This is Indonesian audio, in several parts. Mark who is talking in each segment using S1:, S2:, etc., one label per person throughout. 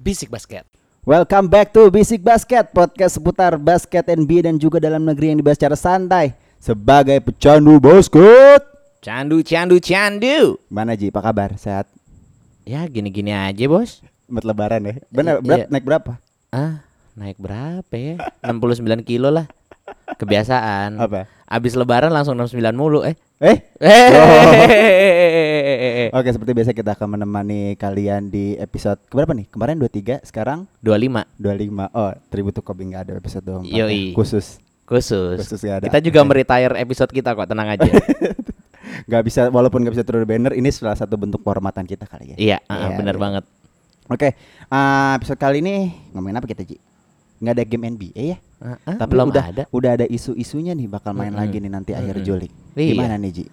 S1: Bisik Basket.
S2: Welcome back to Basic Basket, podcast seputar basket NBA dan juga dalam negeri yang dibahas secara santai sebagai pecandu basket.
S1: Candu, candu, candu.
S2: Mana Ji, apa kabar? Sehat?
S1: Ya gini-gini aja bos.
S2: Buat lebaran ya?
S1: Iya.
S2: Benar, berat naik berapa?
S1: Ah, naik berapa ya? 69 kilo lah. Kebiasaan.
S2: Apa?
S1: Abis lebaran langsung 69 mulu eh.
S2: Eh?
S1: Eh.
S2: Oke, seperti biasa kita akan menemani kalian di episode keberapa nih? Kemarin 23, sekarang
S1: 25
S2: 25. Oh, tribute to Kobe nggak ada episode 24 ya,
S1: Yoi.
S2: khusus.
S1: khusus.
S2: Khusus nggak ada.
S1: Kita juga meretire episode kita kok, tenang aja.
S2: Gak bisa, walaupun gak bisa turun banner, ini salah satu bentuk penghormatan kita kali ya.
S1: iya, ah,
S2: Iya,
S1: bener
S2: iya.
S1: banget.
S2: Oke, eh, episode kali ini ngomongin apa kita Ji? Nggak ada game NBA ya?
S1: Ah, ah,
S2: Tapi
S1: belum
S2: udah
S1: ada.
S2: udah ada isu-isunya nih bakal main
S1: Mm-mm.
S2: lagi nih nanti akhir
S1: Mm-mm.
S2: Juli.
S1: Iya.
S2: Gimana nih Ji?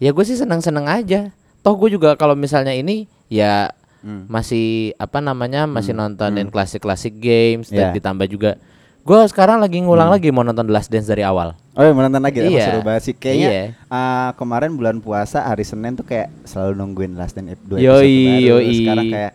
S1: Ya gue sih seneng-seneng aja. Toh gue juga kalau misalnya ini ya
S2: Hmm.
S1: masih apa namanya masih nontonin klasik-klasik games dan
S2: Yeah.
S1: ditambah juga gue sekarang lagi ngulang
S2: Hmm.
S1: lagi mau nonton The Last Dance dari awal.
S2: Oh, ya, menonton lagi ya? Emang
S1: Iya.
S2: seru banget sih. Kayaknya
S1: Iya.
S2: eh, kemarin bulan puasa hari Senin tuh kayak selalu nungguin last dan dua
S1: Yoi,
S2: episode baru.
S1: yoi.
S2: Sekarang kayak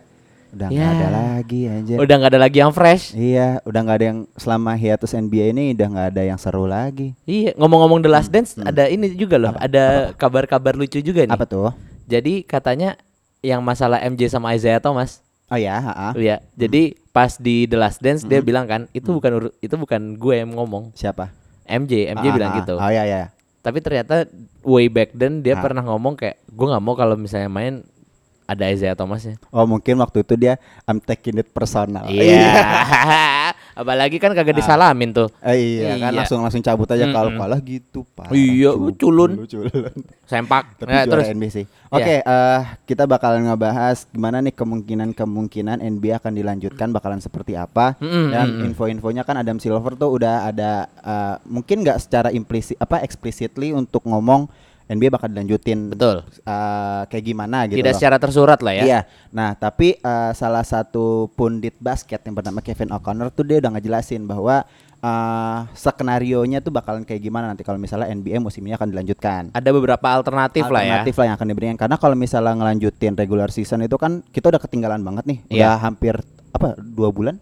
S2: udah nggak
S1: Ya.
S2: ada lagi aja.
S1: Udah nggak ada lagi yang fresh.
S2: Iya, udah nggak ada yang selama hiatus NBA ini udah nggak ada yang seru lagi.
S1: Iya, ngomong-ngomong The Last
S2: Hmm.
S1: Dance ada ini juga loh, ada kabar-kabar lucu juga nih.
S2: Apa tuh?
S1: Jadi katanya yang masalah MJ sama Isaiah Thomas.
S2: Oh ya, ha-ha.
S1: Iya. Jadi
S2: Hmm.
S1: pas di The Last Dance dia bilang kan, itu bukan ur- itu bukan gue yang ngomong.
S2: siapa?
S1: MJ, MJ
S2: Ah,
S1: bilang
S2: ah,
S1: gitu.
S2: Oh ya ya.
S1: Tapi ternyata way back then dia
S2: Ah.
S1: pernah ngomong kayak gue nggak mau kalau misalnya main ada Isaiah ya." Thomasnya.
S2: Oh mungkin waktu itu dia I'm taking it personal. Iya.
S1: Iya. Apalagi kan kagak disalamin tuh.
S2: Eh, iya, kan
S1: Iya.
S2: langsung langsung cabut aja
S1: Mm-mm.
S2: kalau kalah gitu pak.
S1: Iya, culun.
S2: culun.
S1: Sempak.
S2: Tapi
S1: Nah,
S2: juara
S1: terus
S2: NBA sih. Oke, eh, kita bakalan ngebahas gimana nih kemungkinan-kemungkinan NBA akan dilanjutkan bakalan seperti apa.
S1: Mm-mm,
S2: Dan
S1: mm-mm.
S2: info-infonya kan Adam Silver tuh udah ada eh, mungkin nggak secara implisit apa explicitly untuk ngomong NBA bakal dilanjutin
S1: betul.
S2: eh, kayak gimana gitu.
S1: Tidak
S2: loh.
S1: secara tersurat lah ya.
S2: Iya. Nah, tapi eh, salah satu pundit basket yang bernama Kevin O'Connor tuh dia udah ngejelasin bahwa eh skenario-nya tuh bakalan kayak gimana nanti kalau misalnya NBA musimnya akan dilanjutkan.
S1: Ada beberapa alternatif, lah ya.
S2: Alternatif lah yang akan diberikan karena kalau misalnya ngelanjutin regular season itu kan kita udah ketinggalan banget nih.
S1: Iya.
S2: Udah hampir apa? dua bulan?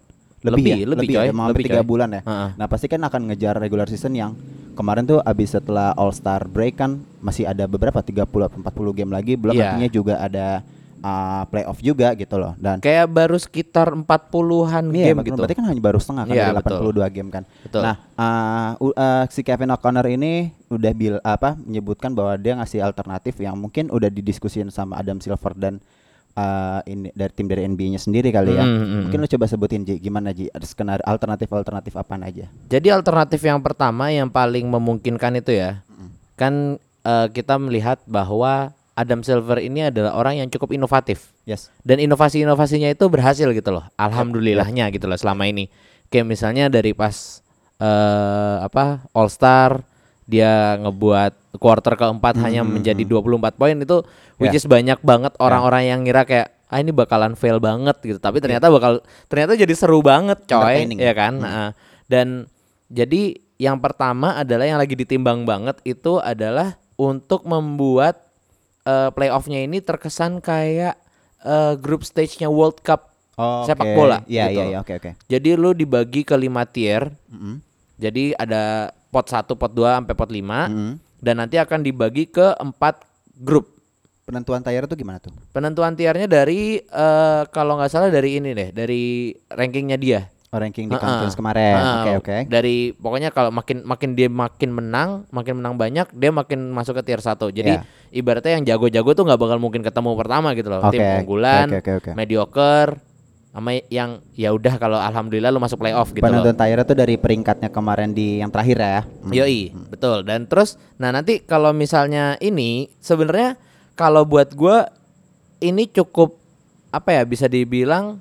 S1: Lebih,
S2: Lebih, ya?
S1: lebih, coy.
S2: ya, mau hampir
S1: Lebih,
S2: tiga
S1: coy.
S2: bulan ya.
S1: Heeh.
S2: Nah, pasti kan akan ngejar regular season yang kemarin tuh abis setelah All Star break kan masih ada beberapa 30 atau 40 game lagi belum
S1: Iya.
S2: artinya juga ada uh, playoff juga gitu loh. Dan
S1: Kayak baru sekitar 40-an game
S2: Iya, makanya
S1: gitu.
S2: Berarti kan hanya baru setengah kan
S1: Iya,
S2: dari
S1: betul.
S2: 82 game kan.
S1: Betul.
S2: Nah, uh, u- uh, si Kevin O'Connor ini udah bil apa menyebutkan bahwa dia ngasih alternatif yang mungkin udah didiskusin sama Adam Silver dan uh, ini dari tim dari NBA-nya sendiri kali ya.
S1: Mm, mm, mm.
S2: Mungkin lu coba sebutin Ji, gimana Ji? Ada skenario alternatif-alternatif apaan aja?
S1: Jadi alternatif yang pertama yang paling memungkinkan itu ya. Kan eh, kita melihat bahwa Adam Silver ini adalah orang yang cukup inovatif.
S2: Yes.
S1: dan inovasi-inovasinya itu berhasil gitu loh. Alhamdulillahnya gitu loh selama ini. Kayak misalnya dari pas eh apa All Star dia ngebuat quarter keempat hanya menjadi 24 poin itu which
S2: Yeah.
S1: is banyak banget orang-orang yang ngira kayak ah ini bakalan fail banget gitu. Tapi ternyata bakal ternyata jadi seru banget coy,
S2: Entertaining.
S1: ya kan? Nah, dan jadi yang pertama adalah yang lagi ditimbang banget itu adalah untuk membuat eh, playoffnya ini terkesan kayak eh, grup stage-nya World Cup sepak bola.
S2: Iya,
S1: gitu.
S2: iya, iya, Hmm. oke, oke.
S1: Jadi lu dibagi ke lima tier.
S2: Mm-mm.
S1: Jadi ada pot 1, pot 2 sampai pot 5
S2: Mm-mm.
S1: dan nanti akan dibagi ke empat grup.
S2: Penentuan tayar tuh gimana tuh?
S1: Penentuan tiernya dari eh, kalau nggak salah dari ini deh, dari rankingnya dia.
S2: Oh, ranking di
S1: Heeh.
S2: conference kemarin. Oke,
S1: Heeh.
S2: oke.
S1: Dari pokoknya kalau makin makin dia makin menang, makin menang banyak, dia makin masuk ke tier 1. Jadi
S2: Iya.
S1: ibaratnya yang jago-jago tuh nggak bakal mungkin ketemu pertama gitu loh. Tim
S2: Oke,
S1: unggulan,
S2: oke, oke, oke.
S1: mediocre sama yang ya udah kalau alhamdulillah lu masuk playoff gitu loh.
S2: Penentuan tayar tuh dari peringkatnya kemarin di yang terakhir ya. Mm.
S1: Yoi, betul. Dan terus nah nanti kalau misalnya ini sebenarnya kalau buat gua ini cukup apa ya bisa dibilang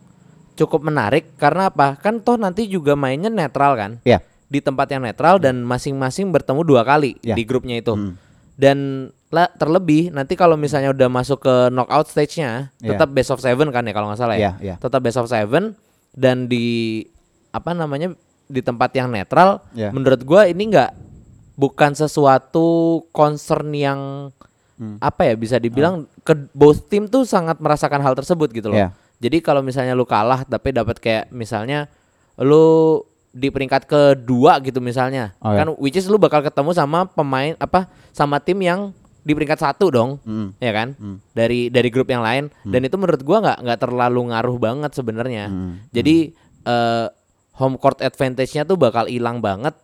S1: cukup menarik karena apa? Kan toh nanti juga mainnya netral kan?
S2: Iya.
S1: di tempat yang netral dan masing-masing bertemu dua kali
S2: Ya.
S1: di grupnya itu.
S2: Hmm.
S1: Dan la- terlebih nanti kalau misalnya udah masuk ke knockout stage-nya,
S2: Ya.
S1: tetap best of seven kan ya kalau nggak salah ya.
S2: Iya, iya.
S1: Tetap best of seven dan di apa namanya di tempat yang netral.
S2: Ya.
S1: Menurut gua ini nggak bukan sesuatu concern yang
S2: Hmm.
S1: apa ya bisa dibilang ke both team tuh sangat merasakan hal tersebut gitu loh.
S2: Ya.
S1: Jadi kalau misalnya lu kalah tapi dapat kayak misalnya lu di peringkat kedua gitu misalnya,
S2: Oh, ya.
S1: kan which is lu bakal ketemu sama pemain apa sama tim yang di peringkat satu dong,
S2: Mm.
S1: ya kan?
S2: Hmm.
S1: Dari dari grup yang lain dan itu menurut gua nggak nggak terlalu ngaruh banget sebenarnya.
S2: Hmm.
S1: Jadi eh, home court advantage-nya tuh bakal hilang banget.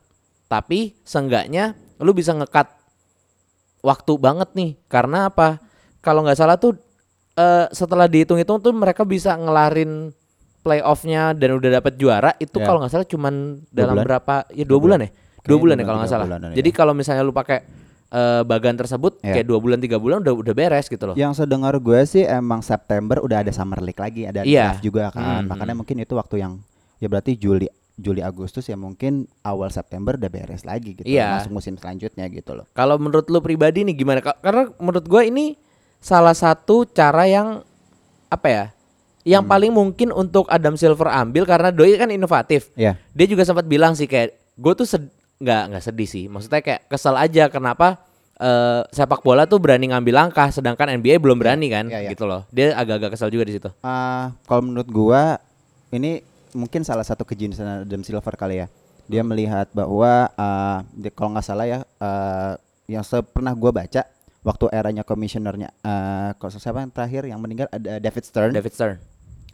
S1: Tapi seenggaknya lu bisa ngekat waktu banget nih. Karena apa? Kalau nggak salah tuh eh, setelah dihitung-hitung tuh mereka bisa ngelarin playoff-nya dan udah dapat juara itu
S2: Ya.
S1: kalau nggak salah cuman
S2: Dua
S1: dalam
S2: bulan.
S1: berapa ya dua bulan ya dua
S2: Kayaknya
S1: bulan ya
S2: dua
S1: kalau nggak
S2: tiga
S1: salah
S2: bulanan ya.
S1: jadi kalau misalnya lu pakai eh, bagan tersebut
S2: Ya.
S1: kayak dua bulan tiga bulan udah udah beres gitu loh
S2: Yang sedengar gue sih emang September udah ada Summer League lagi, ada
S1: Iya.
S2: draft juga kan.
S1: Hmm.
S2: Makanya mungkin itu waktu yang ya berarti Juli Juli Agustus ya mungkin awal September udah beres lagi gitu.
S1: Iya.
S2: Masuk musim selanjutnya gitu loh.
S1: Kalau menurut lu pribadi nih gimana? Ka- Karena menurut gua ini salah satu cara yang apa ya? Yang paling mungkin untuk Adam Silver ambil karena doi kan inovatif.
S2: Iya.
S1: Dia juga sempat bilang sih kayak gue tuh sed- nggak nggak sedih sih. Maksudnya kayak kesel aja kenapa eh, sepak bola tuh berani ngambil langkah sedangkan NBA belum berani kan
S2: iya, iya.
S1: gitu loh. Dia agak-agak kesel juga di situ.
S2: Ah, kalau menurut gua ini mungkin salah satu kejeniusan Adam Silver kali ya. Dia
S1: Hmm.
S2: melihat bahwa ah, di- kalau nggak salah ya ah, yang se- pernah gua baca waktu eranya komisionernya eh kalau siapa yang terakhir yang meninggal ada David Stern.
S1: David Stern.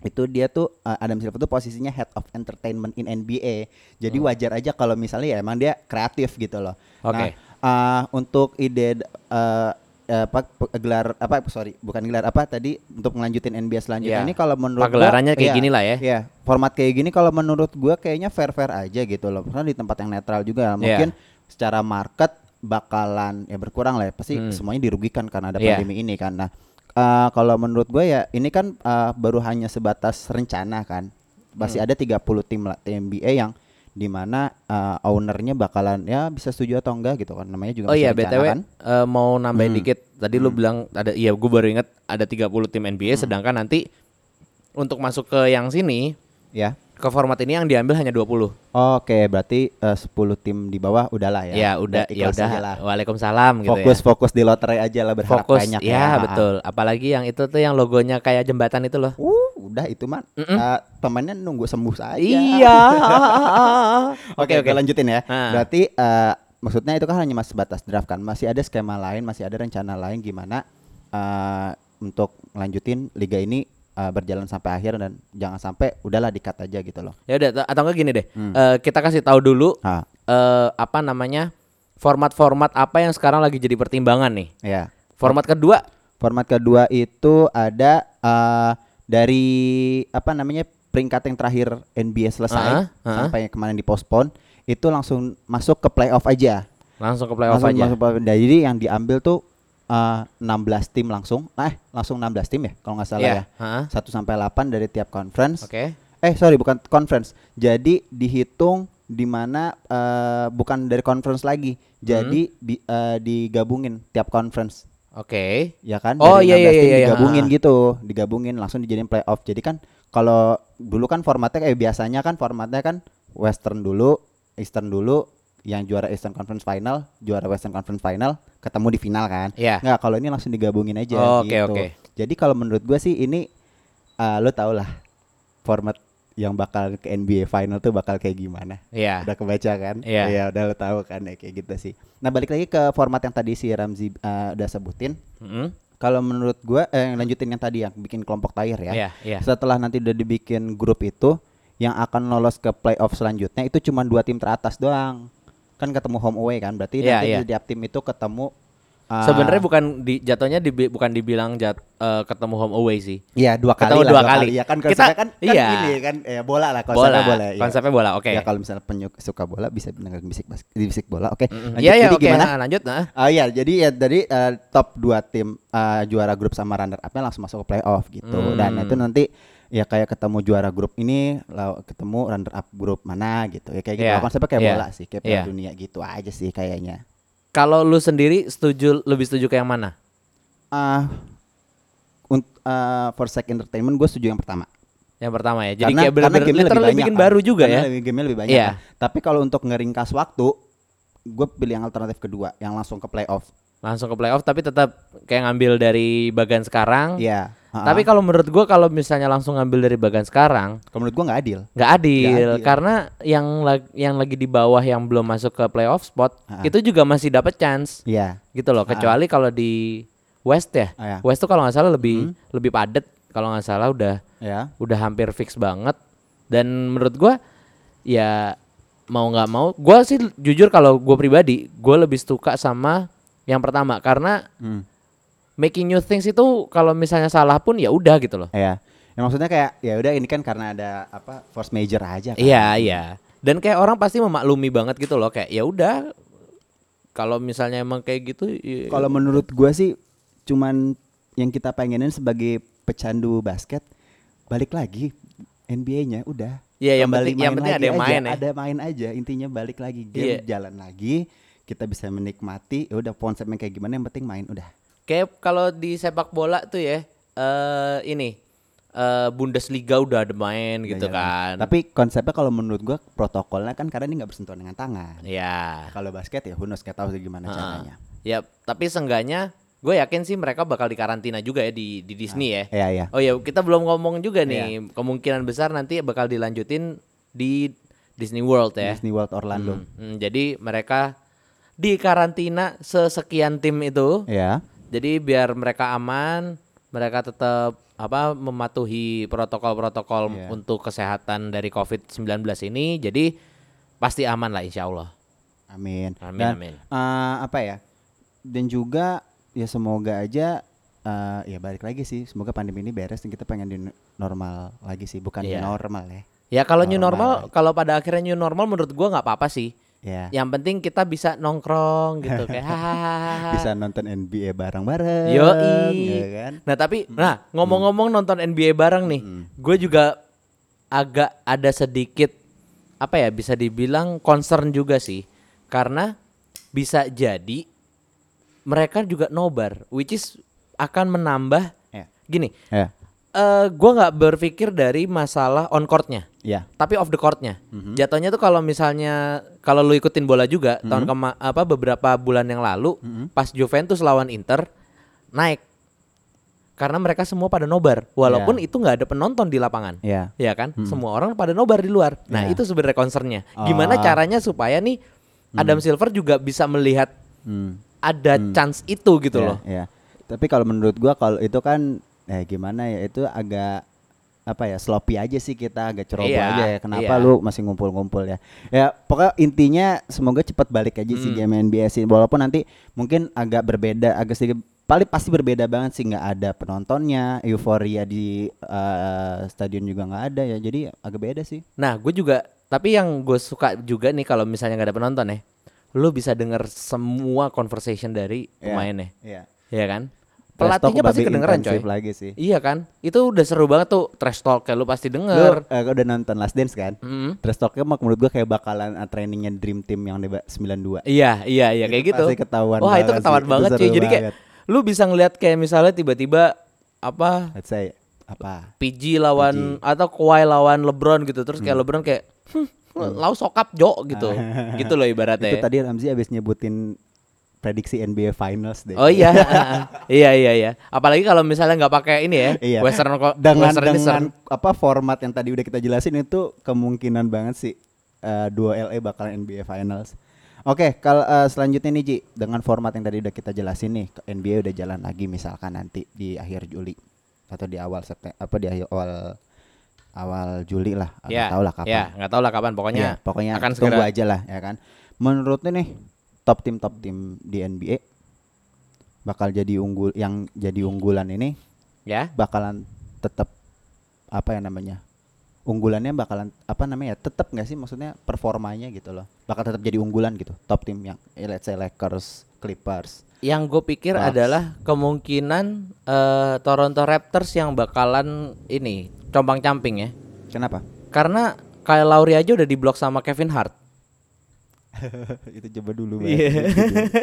S2: itu dia tuh uh, Adam Silver tuh posisinya head of entertainment in NBA. Jadi
S1: Hmm.
S2: wajar aja kalau misalnya ya emang dia kreatif gitu loh.
S1: Oke.
S2: Nah, uh, untuk ide uh, apa pe- gelar apa sorry bukan gelar apa tadi untuk melanjutin NBA
S1: Iya.
S2: selanjutnya ini kalau menurut gua-
S1: Pagelarannya kayak
S2: iya,
S1: gini lah ya.
S2: Iya, format kayak gini kalau menurut gua kayaknya fair-fair aja gitu loh. Karena di tempat yang netral juga
S1: Iya.
S2: mungkin secara market bakalan ya berkurang lah ya. Pasti
S1: Hmm.
S2: semuanya dirugikan karena ada
S1: Iya.
S2: pandemi ini kan. Nah, eh, kalau menurut gue ya ini kan eh, baru hanya sebatas rencana kan. Masih
S1: Hmm.
S2: ada 30 tim la- tim NBA yang dimana eh, ownernya bakalan ya bisa setuju atau enggak gitu kan. Namanya juga
S1: Oh
S2: masih
S1: iya
S2: rencana
S1: BTW
S2: kan.
S1: eh, mau
S2: Hmm.
S1: nambahin dikit. Tadi lu bilang ada iya gue baru inget ada 30 tim NBA
S2: Hmm.
S1: sedangkan nanti untuk masuk ke yang sini
S2: Ya.
S1: ke format ini yang diambil hanya 20.
S2: Oke, berarti eh, 10 tim di bawah udahlah ya.
S1: Ya, udah ya
S2: ikhlas
S1: udah.
S2: aja lah.
S1: Waalaikumsalam gitu
S2: Fokus
S1: ya.
S2: fokus di lotre aja lah berharap
S1: Fokus.
S2: banyak
S1: ya, betul. Apalagi yang itu tuh yang logonya kayak jembatan itu loh.
S2: Uh, udah itu man. Eh, temannya nunggu sembuh saja.
S1: Iya.
S2: Oke oke lanjutin ya.
S1: Ah.
S2: Berarti eh, maksudnya itu kan hanya masih batas draft kan. Masih ada skema lain, masih ada rencana lain gimana eh, untuk lanjutin liga ini eh, berjalan sampai akhir dan jangan sampai udahlah dikat aja gitu loh.
S1: Ya udah atau enggak gini deh.
S2: Hmm.
S1: Eh, kita kasih tahu dulu
S2: Ah,
S1: eh, apa namanya? format-format apa yang sekarang lagi jadi pertimbangan nih.
S2: ya.
S1: Format kedua
S2: Format kedua itu ada eh, dari apa namanya peringkat yang terakhir NBA selesai
S1: Ah, ah.
S2: sampai yang kemarin dipospon itu langsung masuk ke playoff aja.
S1: langsung ke playoff
S2: Langsung
S1: aja.
S2: masuk playoff. Nah, jadi yang diambil tuh eh, 16 tim langsung. Eh, langsung 16 tim ya kalau nggak salah
S1: Iya.
S2: ya.
S1: Heeh.
S2: 1 sampai 8 dari tiap conference.
S1: Oke.
S2: Eh, sorry bukan conference. Jadi dihitung di mana eh, bukan dari conference lagi.
S1: Hmm.
S2: Jadi bi- eh, digabungin tiap conference
S1: Oke.
S2: ya kan
S1: Oh,
S2: dari
S1: iya, iya,
S2: 16
S1: iya,
S2: tim
S1: iya,
S2: digabungin
S1: ha.
S2: gitu digabungin langsung dijadiin playoff jadi kan kalau dulu kan formatnya kayak biasanya kan formatnya kan Western dulu Eastern dulu yang juara Eastern Conference Final juara Western Conference Final ketemu di final kan
S1: Iya.
S2: nggak kalau ini langsung digabungin aja
S1: Oh, oke,
S2: gitu
S1: oke.
S2: jadi kalau menurut gue sih ini eh, lo tau lah format yang bakal ke NBA Final tuh bakal kayak gimana
S1: Iya.
S2: udah kebaca kan
S1: Iya.
S2: Iya, udah lo tahu kan ya kayak gitu sih nah balik lagi ke format yang tadi si Ramzi eh, udah sebutin
S1: Mm-mm.
S2: kalau menurut gua eh, yang lanjutin yang tadi yang bikin kelompok tayar ya.
S1: Iya, iya.
S2: Setelah nanti udah dibikin grup itu yang akan lolos ke playoff selanjutnya itu cuma dua tim teratas doang. Kan ketemu home away kan. Berarti
S1: Iya,
S2: nanti
S1: iya.
S2: di tiap tim itu ketemu ah,
S1: Sebenarnya bukan di jatuhnya dibi- bukan dibilang jat, eh, ketemu home away sih.
S2: Iya dua kali
S1: ketemu
S2: lah,
S1: dua kali.
S2: Ya kan
S1: Kita-
S2: konsepnya kan, kan
S1: iya.
S2: ini kan eh, bola lah
S1: Bola.
S2: konsepnya bola. iya.
S1: Konsepnya bola. Oke.
S2: Ya kalau misalnya penyuka suka bola bisa dengerin bisik bas- bisik bola. Oke.
S1: Mm-mm.
S2: Lanjut,
S1: Iya, iya,
S2: jadi
S1: oke.
S2: gimana?
S1: Nah, lanjut, nah.
S2: Ah iya, jadi ya dari eh, top 2 tim eh, juara grup sama runner up-nya langsung masuk ke playoff gitu. Dan
S1: Hmm.
S2: itu nanti ya kayak ketemu juara grup ini, lalu ketemu runner up grup mana gitu. Ya kayak gitu.
S1: Iya,
S2: Lah, Konsepnya kayak
S1: iya,
S2: bola sih, kayak Piala
S1: iya.
S2: dunia gitu aja sih kayaknya.
S1: Kalau lu sendiri setuju lebih setuju ke yang mana?
S2: Ah unt- eh, for sec entertainment gue setuju yang pertama.
S1: Yang pertama ya. Jadi
S2: karena,
S1: kayak benar-benar
S2: gamenya
S1: literally bikin
S2: kan.
S1: baru juga
S2: Karena
S1: ya.
S2: lebih- gamenya lebih banyak.
S1: Iya.
S2: kan. Tapi kalau untuk ngeringkas waktu, gue pilih yang alternatif kedua, yang langsung ke playoff.
S1: langsung ke playoff tapi tetap kayak ngambil dari bagan sekarang.
S2: Iya. ha-ha.
S1: Hmm. Tapi kalau menurut gua kalau misalnya langsung ngambil dari bagan sekarang
S2: kalau menurut gua nggak adil.
S1: nggak adil,
S2: adil.
S1: karena yang lag- yang lagi di bawah yang belum masuk ke playoff spot
S2: Ah.
S1: itu juga masih dapat chance
S2: Iya.
S1: gitu loh kecuali kalau di West ya
S2: Ah, ya. Hmm.
S1: West tuh kalau nggak salah lebih lebih padat kalau nggak salah udah
S2: Ya.
S1: udah hampir fix banget dan menurut gua ya mau nggak mau gua sih jujur kalau gua pribadi gua lebih suka sama yang pertama karena
S2: Hmm.
S1: making new things itu kalau misalnya salah pun ya udah gitu loh
S2: Iya. Ya maksudnya kayak ya udah ini kan karena ada apa force major aja. kan.
S1: Iya iya. Dan kayak orang pasti memaklumi banget gitu loh kayak ya udah kalau misalnya emang kayak gitu. ya-
S2: Kalau menurut gua sih cuman yang kita pengenin sebagai pecandu basket balik lagi NBA-nya udah.
S1: Iya, yang
S2: Kembali
S1: penting- yang
S2: main
S1: penting
S2: lagi
S1: ada yang
S2: aja,
S1: main ya.
S2: Ada main aja, intinya balik lagi
S1: Iya.
S2: game jalan lagi, kita bisa menikmati ya udah konsepnya kayak gimana yang penting main udah.
S1: kayak kalau di sepak bola tuh ya eh ini eh Bundesliga udah ada main gitu kan.
S2: Udah jalan. Tapi konsepnya kalau menurut gua protokolnya kan karena ini nggak bersentuhan dengan tangan.
S1: ya.
S2: Kalau basket ya Hunus nggak tahu sih gimana
S1: Heeh.
S2: caranya.
S1: Ya, tapi seenggaknya gue yakin sih mereka bakal dikarantina juga ya di di Disney ya.
S2: Iya iya.
S1: Oh ya, kita belum ngomong juga nih kemungkinan besar nanti bakal dilanjutin di Disney World ya.
S2: Disney World Orlando.
S1: Hmm, jadi mereka di karantina sesekian tim itu.
S2: Ya.
S1: Jadi biar mereka aman, mereka tetap apa mematuhi protokol-protokol
S2: Iya.
S1: untuk kesehatan dari COVID-19 ini. Jadi pasti aman lah insya Allah.
S2: Amin.
S1: Amin,
S2: Dan,
S1: amin.
S2: eh, apa ya? Dan juga ya semoga aja eh, ya balik lagi sih. Semoga pandemi ini beres dan kita pengen di normal lagi sih, bukan di
S1: Iya.
S2: normal ya.
S1: Ya kalau new
S2: Normal.
S1: normal, kalau pada akhirnya new normal menurut gua nggak apa-apa sih.
S2: Ya.
S1: Yang penting kita bisa nongkrong gitu kayak hahaha.
S2: Bisa nonton NBA bareng-bareng.
S1: Yoi.
S2: ya kan?
S1: Nah tapi, nah ngomong-ngomong nonton NBA bareng nih, gue juga agak ada sedikit apa ya bisa dibilang concern juga sih, karena bisa jadi mereka juga nobar, which is akan menambah
S2: Ya.
S1: gini.
S2: Ya.
S1: eh gue nggak berpikir dari masalah on courtnya,
S2: Ya.
S1: tapi off the courtnya. Jatuhnya tuh kalau misalnya kalau lu ikutin bola juga tahun kema apa beberapa bulan yang lalu pas Juventus lawan Inter naik karena mereka semua pada nobar walaupun itu nggak ada penonton di lapangan.
S2: Ya.
S1: Ya kan? Semua orang pada nobar di luar. Nah,
S2: Ya.
S1: itu sebenarnya concernnya. Gimana caranya supaya nih Adam Silver juga bisa melihat
S2: Hmm.
S1: ada chance itu gitu
S2: Ya,
S1: loh.
S2: ya. Tapi kalau menurut gua kalau itu kan eh gimana ya itu agak apa ya sloppy aja sih kita agak ceroboh
S1: Iya,
S2: aja ya. Kenapa
S1: iya.
S2: lu masih ngumpul-ngumpul ya? Ya pokoknya intinya semoga cepat balik aja
S1: Hmm.
S2: sih game NBA sih. Walaupun nanti mungkin agak berbeda, agak sedikit paling pasti berbeda banget sih nggak ada penontonnya, euforia di eh, stadion juga nggak ada ya. Jadi agak beda sih.
S1: Nah, gue juga tapi yang gue suka juga nih kalau misalnya nggak ada penonton ya, lu bisa denger semua conversation dari
S2: Iya.
S1: pemainnya,
S2: Iya.
S1: ya kan?
S2: Trash talk
S1: Pelatihnya pasti
S2: babi
S1: kedengeran coy.
S2: intensif lagi sih.
S1: Iya kan? Itu udah seru banget tuh trash talk kayak lu pasti
S2: Lu
S1: denger.
S2: eh, udah nonton Last Dance kan?
S1: Mm.
S2: Trash talknya mah menurut gua kayak bakalan uh, trainingnya Dream Team yang debat 92
S1: Iya, iya, iya kayak
S2: Itu
S1: gitu.
S2: pasti ketahuan
S1: Wah, itu
S2: banget
S1: ketahuan
S2: sih, itu
S1: banget
S2: seru
S1: cuy. Jadi kayak
S2: banget.
S1: lu bisa ngeliat kayak misalnya tiba-tiba apa
S2: Let's say apa
S1: PG lawan atau Kawhi lawan LeBron gitu. Terus kayak LeBron kayak "Hmm, lau sokap jo gitu. gitu loh ibaratnya. ya.
S2: Itu tadi Ramzi abis nyebutin prediksi NBA Finals deh
S1: Oh iya, iya iya iya. Apalagi kalau misalnya nggak pakai ini ya,
S2: Iya.
S1: Western ko-
S2: Dengan
S1: Western
S2: dengan Ah,
S1: Western.
S2: apa format yang tadi udah kita jelasin itu kemungkinan banget sih eh, dua LA bakalan NBA Finals. Oke, kalau eh, selanjutnya nih Ji, dengan format yang tadi udah kita jelasin nih, ke- NBA udah jalan lagi misalkan nanti di akhir Juli atau di awal September apa di akhir awal awal Juli lah,
S1: Ya,
S2: nggak tahu lah kapan.
S1: Ya, nggak tahu lah kapan. Pokoknya,
S2: Iya, pokoknya
S1: akan
S2: tunggu
S1: segera.
S2: aja lah ya kan. Menurut lu nih top tim top tim di NBA bakal jadi unggul yang jadi unggulan ini
S1: Ya,
S2: bakalan tetap apa ya namanya? Unggulannya bakalan apa namanya ya? Tetap nggak sih maksudnya performanya gitu loh. Bakal tetap jadi unggulan gitu top tim yang eh, let's say Lakers, Clippers.
S1: yang gue pikir
S2: Wah.
S1: adalah kemungkinan eh, Toronto Raptors yang bakalan ini compang camping ya.
S2: Kenapa?
S1: Karena Kyle Lowry aja udah diblok sama Kevin Hart.
S2: itu coba dulu Bang.
S1: Iya.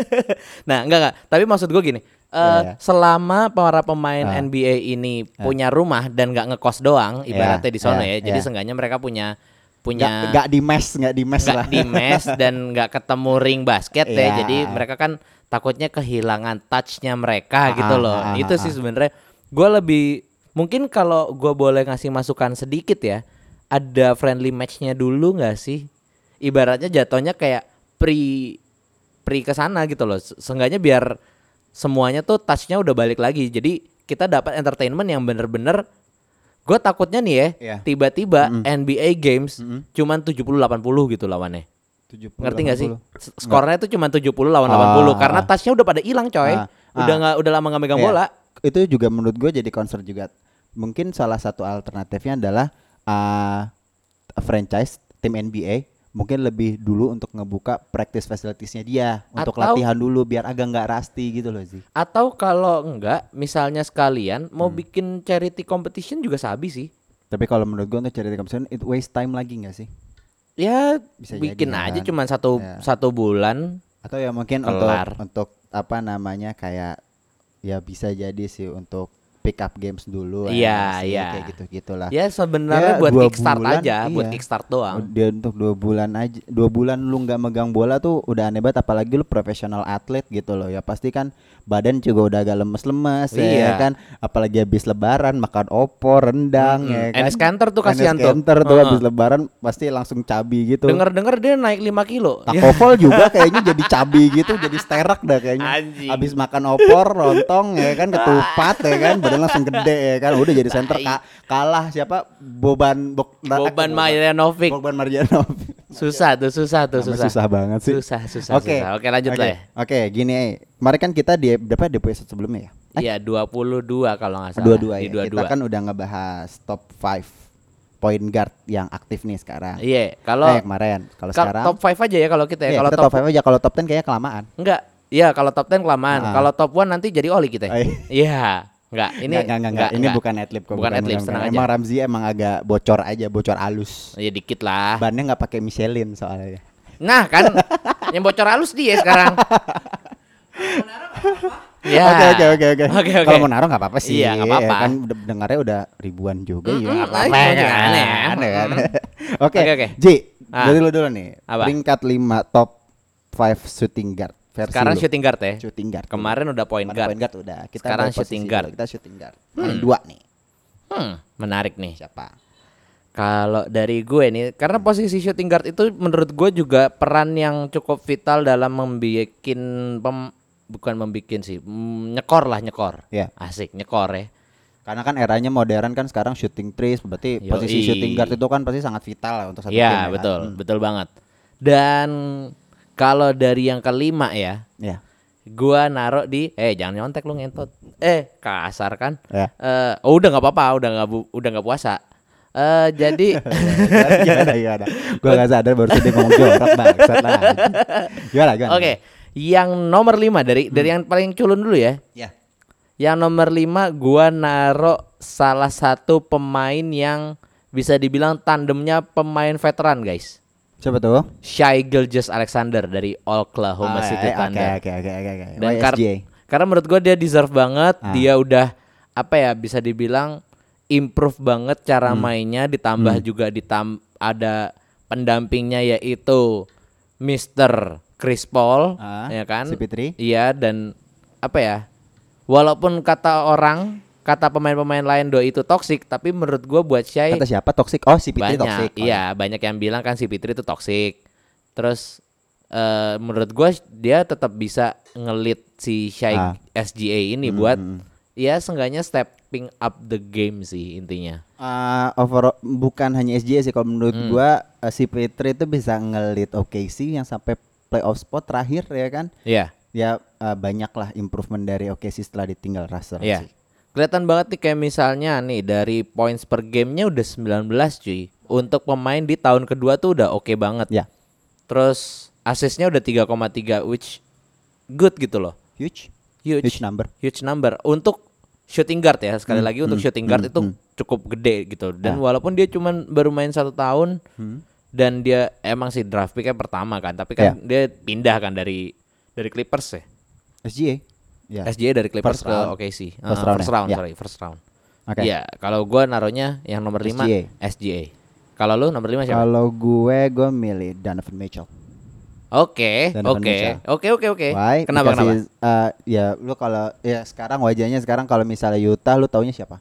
S1: nah, enggak enggak. Tapi maksud gue gini, eh,
S2: gitu. Iya, iya.
S1: selama para pemain
S2: Ah.
S1: NBA ini punya rumah dan nggak ngekos doang, ibaratnya di sana
S2: iya,
S1: ya. Jadi
S2: iya.
S1: seenggaknya mereka punya
S2: nggak
S1: punya
S2: nggak di mes nggak di mes lah
S1: nggak di mes dan nggak ketemu ring basket ya.
S2: Iya.
S1: Jadi mereka kan takutnya kehilangan touchnya mereka
S2: Ah,
S1: gitu loh.
S2: ah, ah,
S1: Itu
S2: ah.
S1: sih sebenarnya gue lebih mungkin kalau gue boleh ngasih masukan sedikit ya, ada friendly matchnya dulu nggak sih? Ibaratnya jatuhnya kayak pre pre kesana gitu loh. Se- Seenggaknya biar semuanya tuh touchnya udah balik lagi. Jadi kita dapat entertainment yang bener-bener Gue takutnya nih ya,
S2: Iya.
S1: tiba-tiba NBA games cuman 70-80 gitu lawannya.
S2: 70,
S1: Ngerti nggak sih?
S2: 80.
S1: S- Skornya tuh cuma 70 lawan
S2: Ah,
S1: 80 karena tasnya udah pada hilang, coy.
S2: Ah,
S1: Udah
S2: ah.
S1: nggak udah lama nggak megang
S2: Iya.
S1: bola.
S2: itu juga menurut gue jadi concern juga mungkin salah satu alternatifnya adalah ah, franchise tim NBA mungkin lebih dulu untuk ngebuka practice facilities-nya dia untuk
S1: Atau-
S2: latihan dulu biar agak nggak rusty gitu loh sih
S1: Atau kalau enggak, misalnya sekalian mau
S2: Hmm.
S1: bikin charity competition juga sabi sih.
S2: tapi kalau menurut gue untuk cari competition it waste time lagi nggak sih
S1: Ya
S2: Bisa
S1: bikin
S2: jadi,
S1: aja
S2: kan?
S1: cuma satu
S2: Ya.
S1: satu bulan.
S2: atau ya mungkin
S1: Kelar.
S2: untuk untuk apa namanya kayak ya bisa jadi sih untuk pick up games dulu
S1: Iya,
S2: ya sih,
S1: iya.
S2: kayak gitu gitulah
S1: Ya sebenarnya
S2: Ya,
S1: buat
S2: dua
S1: kickstart
S2: bulan,
S1: aja, buat
S2: iya.
S1: kickstart doang.
S2: dia untuk dua bulan aja dua bulan lu nggak megang bola tuh udah aneh banget apalagi lu profesional atlet gitu loh ya pasti kan badan juga udah agak lemes-lemes
S1: Iya.
S2: ya kan apalagi habis lebaran makan opor rendang
S1: Mm-mm.
S2: ya kan
S1: Enes Kanter tuh
S2: Enes
S1: kasihan tuh.
S2: Kanter tuh
S1: Heeh.
S2: habis lebaran pasti langsung cabi gitu
S1: Dengar-dengar dia naik 5 kilo. Ya,
S2: Takovol Nah, juga kayaknya jadi cabi gitu, jadi sterak dah kayaknya.
S1: Anjing.
S2: Abis makan opor, rontong ya kan, ketupat ya kan, badan langsung gede ya kan. Udah jadi center ka- kalah siapa? Boban Bok-
S1: Boban Marjanovic.
S2: Boban Marjanov.
S1: Susah tuh, susah tuh, susah.
S2: Susah. susah banget sih.
S1: Susah, susah, susah. Oke, lanjut
S2: Oke,
S1: lah ya.
S2: Oke, gini eh. Kemarin kan kita di berapa di episode sebelumnya ya?
S1: Iya, 22 kalau nggak salah.
S2: Dua-dua
S1: Di
S2: ya. Kita kan udah ngebahas top 5 point guard yang aktif nih sekarang.
S1: Iya, kalau
S2: Eh, kemarin. Kalau
S1: Ka-
S2: sekarang
S1: top 5 aja ya kalau kita ya.
S2: Iya,
S1: kalau
S2: kita
S1: top,
S2: top 5 aja kalau top 10 kayaknya kelamaan.
S1: enggak. Iya, kalau top 10 kelamaan.
S2: Ah.
S1: Kalau top 1 nanti jadi oli kita. ya.
S2: Eh.
S1: Iya. Enggak, ini
S2: Nggak, nggak, nggak, nggak. ini bukan ya. adlib kok,
S1: Bukan adlib, tenang aja.
S2: Emang Ramzi emang agak bocor aja, bocor alus.
S1: Ya dikit lah.
S2: Bannya nggak pakai Michelin soalnya.
S1: Nah, kan yang bocor halus dia sekarang. Ya.
S2: Oke oke oke oke.
S1: Oke, oke.
S2: Kalau mau naruh nggak apa-apa sih.
S1: Iya, nggak apa-apa.
S2: ya kan udah- dengarnya udah ribuan juga ya.
S1: Mm-mm,
S2: nggak apa-apa
S1: ayo,
S2: ya
S1: jangan
S2: kan.
S1: ya.
S2: Aneh kan?
S1: Mm-mm.
S2: Oke
S1: Oke, oke.
S2: Ji,
S1: Ah.
S2: dari lu dulu nih.
S1: Apa?
S2: Peringkat 5 top 5 shooting guard versi
S1: Sekarang
S2: lu.
S1: shooting guard ya.
S2: shooting guard.
S1: Kemarin udah point
S2: Kemarin
S1: guard.
S2: point guard udah. Kita
S1: Sekarang
S2: berposisi
S1: shooting
S2: dulu.
S1: guard.
S2: Kita shooting guard. Kemarin dua nih.
S1: Hmm, menarik nih.
S2: Siapa?
S1: Kalau dari gue nih, karena posisi shooting guard itu menurut gue juga peran yang cukup vital dalam membikin pem- bukan membikin sih, mm, nyekor lah nyekor.
S2: Iya.
S1: Asik nyekor ya.
S2: Karena kan eranya modern kan sekarang shooting threes berarti
S1: Yoi.
S2: posisi shooting guard itu kan pasti sangat vital lah untuk satu tim. ya kan? Hmm.
S1: Iya betul, betul banget. Dan kalau dari yang kelima ya,
S2: Iya.
S1: gua naruh di eh jangan nyontek lu ngentot. Eh kasar kan?
S2: Ya.
S1: Eh, oh udah nggak apa-apa, udah nggak bu- udah nggak puasa. Eh jadi
S2: gimana gimana. iya, Gua enggak sadar baru dia ngomong jorok bangsat lah. Gimana gimana?
S1: oke, yang nomor lima
S2: Hmm.
S1: dari dari yang paling culun dulu ya.
S2: Ya.
S1: Yang nomor 5 gua naro salah satu pemain yang bisa dibilang tandemnya pemain veteran guys.
S2: Coba tuh.
S1: Shai Gilgeous Alexander dari Oklahoma
S2: Ah,
S1: City
S2: eh, Oke
S1: Thunder.
S2: oke oke oke Oh, oke.
S1: Dan kar-
S2: YSJ.
S1: karena menurut gua dia deserve banget,
S2: Ah.
S1: dia udah apa ya bisa dibilang improve banget cara
S2: Hmm.
S1: mainnya ditambah juga ditam ada pendampingnya yaitu Mr. Chris Paul
S2: Ah,
S1: ya kan?
S2: CP3.
S1: Iya dan apa ya? Walaupun kata orang, kata pemain-pemain lain doi itu toxic, tapi menurut gua buat Shay
S2: Kata siapa toxic? Oh, si Pitri
S1: banyak
S2: toxic. Oh,
S1: iya banyak yang bilang kan si Fitri itu toxic terus eh menurut gua dia tetap bisa ngelit si Syai
S2: Ah.
S1: SGA ini buat ya seenggaknya stepping up the game sih intinya
S2: Eh, overall- bukan hanya SJ sih kalau menurut
S1: Hmm.
S2: gua eh, si Pitri itu bisa ngelit OKC yang sampai playoff spot terakhir ya kan.
S1: Iya
S2: Ya eh, banyaklah improvement dari OKC setelah ditinggal Russell
S1: iya
S2: sih.
S1: kelihatan banget nih kayak misalnya nih dari points per gamenya udah 19 cuy untuk pemain di tahun kedua tuh udah oke banget
S2: Ya.
S1: terus asisnya udah 3,3 which good gitu loh
S2: Huge.
S1: Huge.
S2: Huge number. Hmm.
S1: huge number untuk shooting guard ya sekali lagi untuk shooting guard itu cukup gede gitu
S2: Ah.
S1: dan walaupun dia cuman baru main satu tahun
S2: Hmm.
S1: dan dia emang sih draft picknya pertama kan tapi
S2: Ya.
S1: kan dia pindah kan dari dari Clippers ya
S2: SGA. Ya.
S1: SGA dari Clippers
S2: First
S1: ke
S2: round.
S1: OKC sih
S2: First
S1: Ah,
S2: round
S1: first
S2: ya?
S1: round
S2: Ya.
S1: sorry first round
S2: Oke.
S1: Iya, kalau gua naruhnya yang nomor 5
S2: SGA.
S1: SGA Kalau lu nomor 5 siapa?
S2: Kalau gue gue milih Donovan Mitchell.
S1: Oke,
S2: Donovan
S1: oke.
S2: Mitchell.
S1: Oke, oke, oke.
S2: Why?
S1: Kenapa kenapa?
S2: Because he's, uh, ya lu kalau ya sekarang wajahnya sekarang kalau misalnya Utah lu taunya siapa?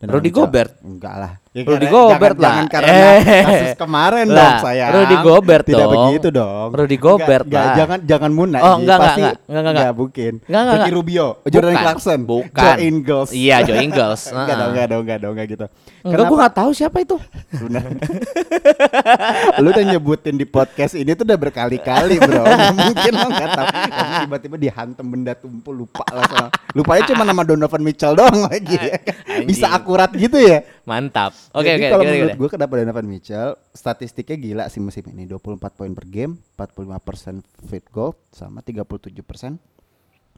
S1: Rudy
S2: Mitchell.
S1: Gobert.
S2: Enggak lah.
S1: Rudy
S2: Ya, karena-
S1: Gobert
S2: jangan-
S1: lah.
S2: Jangan karena
S1: Eh.
S2: kasus kemarin
S1: Lah,
S2: dong saya.
S1: Rudy Gobert
S2: Tidak
S1: dong.
S2: begitu dong.
S1: Rudy
S2: Enggak-
S1: Gobert
S2: enggak,
S1: lah.
S2: jangan jangan Muna.
S1: Oh, enggak, enggak,
S2: Pasti,
S1: enggak, enggak, enggak, enggak.
S2: mungkin.
S1: Enggak, enggak,
S2: Ricky
S1: enggak.
S2: Rubio, Jordan
S1: Bukan.
S2: Clarkson,
S1: Bukan.
S2: Joe Ingles.
S1: Iya, Joe Ingles.
S2: enggak dong,
S1: Heeh.
S2: enggak dong, enggak dong, enggak gitu.
S1: Enggak, gue gak tahu siapa itu.
S2: Benar. lu udah nyebutin di podcast ini tuh udah berkali-kali bro Nggak Mungkin lo gak tau Tapi tiba-tiba dihantam benda tumpul lupa lah sama Lupanya cuma nama Donovan Mitchell doang lagi ya kan? Bisa
S1: Anjing.
S2: akurat gitu ya
S1: Mantap. Oke, oke.
S2: Jadi kalau
S1: gimana,
S2: menurut
S1: gimana?
S2: gue kenapa Donovan Mitchell Statistiknya gila sih musim ini 24 poin per game 45% field goal Sama 37%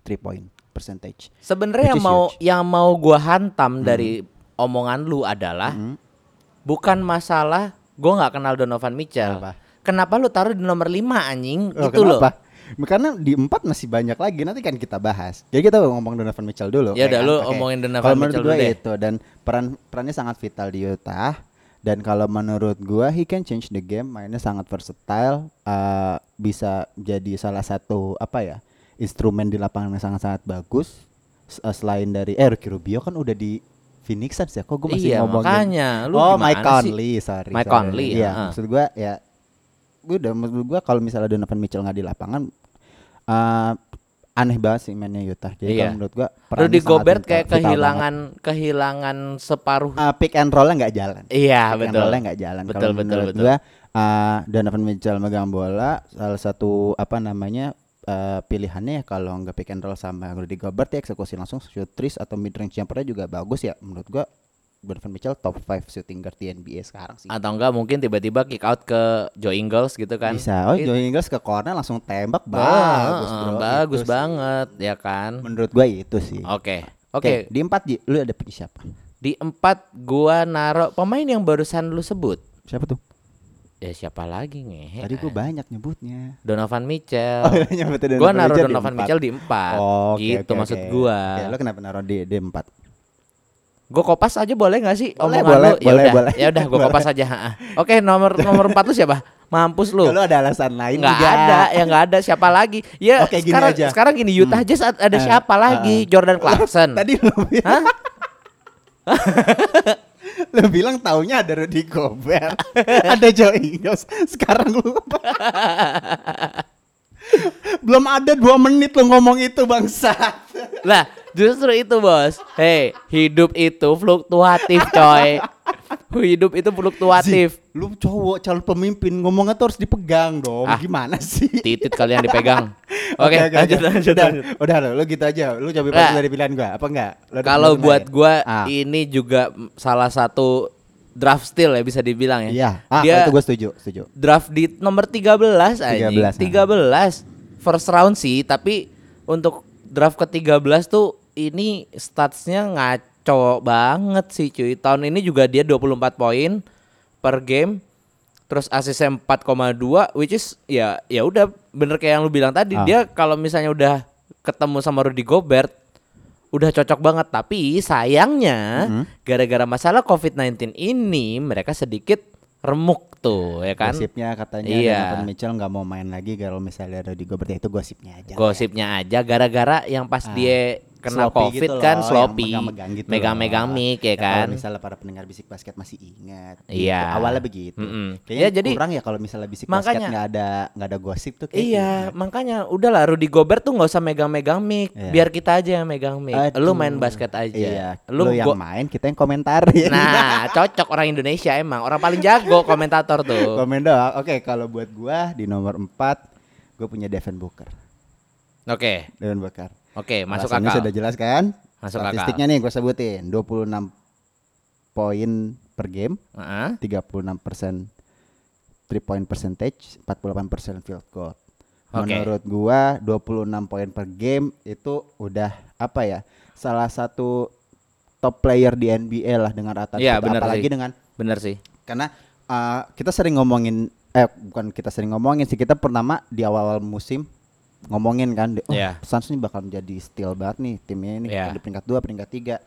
S2: 3 point percentage
S1: Sebenarnya
S2: Which
S1: yang
S2: is
S1: mau
S2: huge. Hmm.
S1: yang mau gua hantam dari omongan lu adalah bukan masalah gua nggak kenal Donovan Mitchell.
S2: Apa?
S1: Kenapa lu taruh di nomor 5 anjing?
S2: Loh,
S1: itu loh.
S2: Ah. Oh, kenapa? Karena di empat masih banyak lagi nanti kan kita bahas. Jadi kita ngomong Donovan Mitchell dulu.
S1: Ya udah,
S2: kan?
S1: lu
S2: Oke.
S1: omongin Donovan
S2: Kalau menurut
S1: Mitchell dulu
S2: gua ya,
S1: deh.
S2: itu dan peran perannya sangat vital di Utah. Dan kalau menurut gua he can change the game. Mainnya sangat versatile. eh, bisa jadi salah satu apa ya instrumen di lapangan yang sangat-sangat bagus. S- eh, selain dari eh Ricky Rubio kan udah di Phoenix Suns ya. Kok gue masih
S1: Iya,
S2: ngomongin
S1: makanya. Lu
S2: oh
S1: gimana
S2: Mike
S1: sih?
S2: Conley sorry
S1: Mike
S2: sorry.
S1: Conley, ah.
S2: iya
S1: heeh.
S2: maksud gua ya gua udah menurut gua kalau misalnya Donovan Mitchell nggak di lapangan eh aneh banget sih mainnya Utah jadi
S1: Iya.
S2: kalau menurut gua perannya
S1: Rudy
S2: sangat
S1: Gobert
S2: vital-
S1: kayak
S2: vital
S1: kehilangan kehilangan separuh.
S2: banget. Eh, pick and rollnya nggak jalan
S1: Iya,
S2: pick and
S1: betul.
S2: rollnya nggak jalan
S1: Betul,
S2: kalau
S1: betul,
S2: menurut
S1: betul.
S2: gua eh, Donovan Mitchell megang bola salah satu apa namanya eh, pilihannya ya kalau nggak pick and roll sama Rudy Gobert ya eksekusi langsung shoot threes atau mid range jumpernya juga bagus ya menurut gua Donovan Mitchell top 5 shooting guard di NBA sekarang sih
S1: Atau enggak mungkin tiba-tiba kick out ke Joe Ingles gitu kan.
S2: Bisa. Oh,
S1: It-
S2: Joe Ingles ke corner langsung tembak
S1: Bagus,
S2: bagus, bro.
S1: bagus
S2: Itu sih.
S1: banget ya kan.
S2: Menurut gua itu sih.
S1: Oke.
S2: Oke,
S1: Oke,
S2: di empat Ji, lu ada punya siapa?
S1: di empat gua naruh pemain yang barusan lu sebut.
S2: Siapa tuh?
S1: Ya siapa lagi ngehe?
S2: Tadi gua banyak nyebutnya.
S1: Donovan Mitchell.
S2: Oh, nyebut
S1: Ya. Eh,
S2: Donovan
S1: gua naruh
S2: Mitchell di
S1: Donovan
S2: empat.
S1: Mitchell di 4.
S2: Oh, oke,
S1: gitu
S2: oke,
S1: maksud
S2: oke.
S1: gua.
S2: Oke, lu kenapa naruh di di empat?
S1: Gua kopas aja boleh gak sih?
S2: Boleh,
S1: omongan lu? Ya
S2: boleh, boleh,
S1: udah,
S2: boleh.
S1: Ya udah gua kopas aja. ha-ha. Oke, nomor nomor 4 lu siapa? Mampus lu.
S2: Kalau ada alasan lain
S1: Nggak
S2: juga.
S1: ada, ya nggak ada siapa lagi. Ya
S2: Oke, gini
S1: sekarang
S2: aja.
S1: sekarang gini Utah Jazz ad- ada
S2: Eh,
S1: siapa lagi?
S2: eh.
S1: Jordan Clarkson.
S2: Tadi lu bilang,
S1: Hah?
S2: lu bilang taunya ada Rudy Gobert, ada Joe Ingles. Sekarang lu Belum ada dua menit lu ngomong itu bangsat.
S1: Lah, justru itu, Bos. Hei, hidup itu fluktuatif, coy. hidup itu fluktuatif.
S2: Zi, lu cowok calon pemimpin ngomongnya tuh harus dipegang dong.
S1: Ah.
S2: Gimana sih?
S1: Titit kalian dipegang. Oke, lanjut, lanjut,
S2: Udah,
S1: lanjut.
S2: udah lo, lu gitu aja. Lu coba
S1: Nah.
S2: nah. dari pilihan gua apa enggak? Lu ada
S1: Kalau
S2: pilihan
S1: buat
S2: lain?
S1: gua
S2: Ah.
S1: ini juga mm, salah satu draft steal ya bisa dibilang ya.
S2: Iya, ah,
S1: Dia
S2: kalau itu gua setuju, setuju.
S1: draft di nomor 13 aja.
S2: 13,
S1: 13. First round sih, tapi untuk draft ke-13 tuh ini statsnya ngaco banget sih cuy. Tahun ini juga dia 24 poin per game. Terus asisnya 4,2 which is ya ya udah bener kayak yang lu bilang tadi.
S2: Ah.
S1: Dia kalau misalnya udah ketemu sama Rudy Gobert udah cocok banget tapi sayangnya gara-gara masalah COVID-19 ini mereka sedikit remuk tuh ya kan.
S2: Gosipnya katanya
S1: Iya.
S2: Donovan Mitchell nggak mau main lagi kalau misalnya ada di Gobert itu gosipnya aja.
S1: Gosipnya aja gara-gara yang pas dia kena
S2: Ah, Sloppy
S1: COVID
S2: gitu
S1: kan
S2: loh, yang
S1: sloppy.
S2: megang-megang gitu
S1: Megang-megang
S2: loh. Nah,
S1: mic ya
S2: kalau
S1: kan.
S2: misalnya para pendengar bisik basket masih ingat.
S1: Iya.
S2: Gitu. Awalnya begitu.
S1: Mm-mm.
S2: Kayaknya
S1: Ya, jadi-
S2: kurang ya kalau misalnya bisik basket
S1: Makanya-
S2: nggak ada nggak ada gosip tuh kayak gitu.
S1: Iya, makanya udahlah Rudy Gobert tuh nggak usah megang-megang mic,
S2: Iya.
S1: biar kita aja yang megang mic. Lu
S2: Aduh.
S1: main basket aja.
S2: Iya.
S1: Lu,
S2: Lu, yang
S1: go-
S2: main, kita yang Iya. komentarin.
S1: Nah, cocok orang Indonesia emang. Orang paling jago komentator tuh.
S2: komen doang. Oke, kalau buat gua di nomor 4 gua punya Devin Booker.
S1: Oke.
S2: Devin Booker.
S1: Oke, masuk
S2: Alasannya
S1: akal.
S2: sudah jelas kan?
S1: Masuk
S2: Statistiknya nih gua sebutin. 26 poin per game,
S1: Heeh.
S2: 36% 3 point percentage, 48% field goal.
S1: Oke.
S2: Menurut gua 26 poin per game itu udah apa ya? Salah satu top player di NBA lah dengan rata-rata
S1: Iya, benar
S2: apalagi
S1: sih.
S2: dengan
S1: Bener sih.
S2: karena uh, kita sering ngomongin eh bukan kita sering ngomongin sih kita pertama di awal-awal musim ngomongin kan oh,
S1: Iya.
S2: Suns ini bakal menjadi steal banget nih timnya ini
S1: Iya.
S2: di peringkat 2 peringkat 3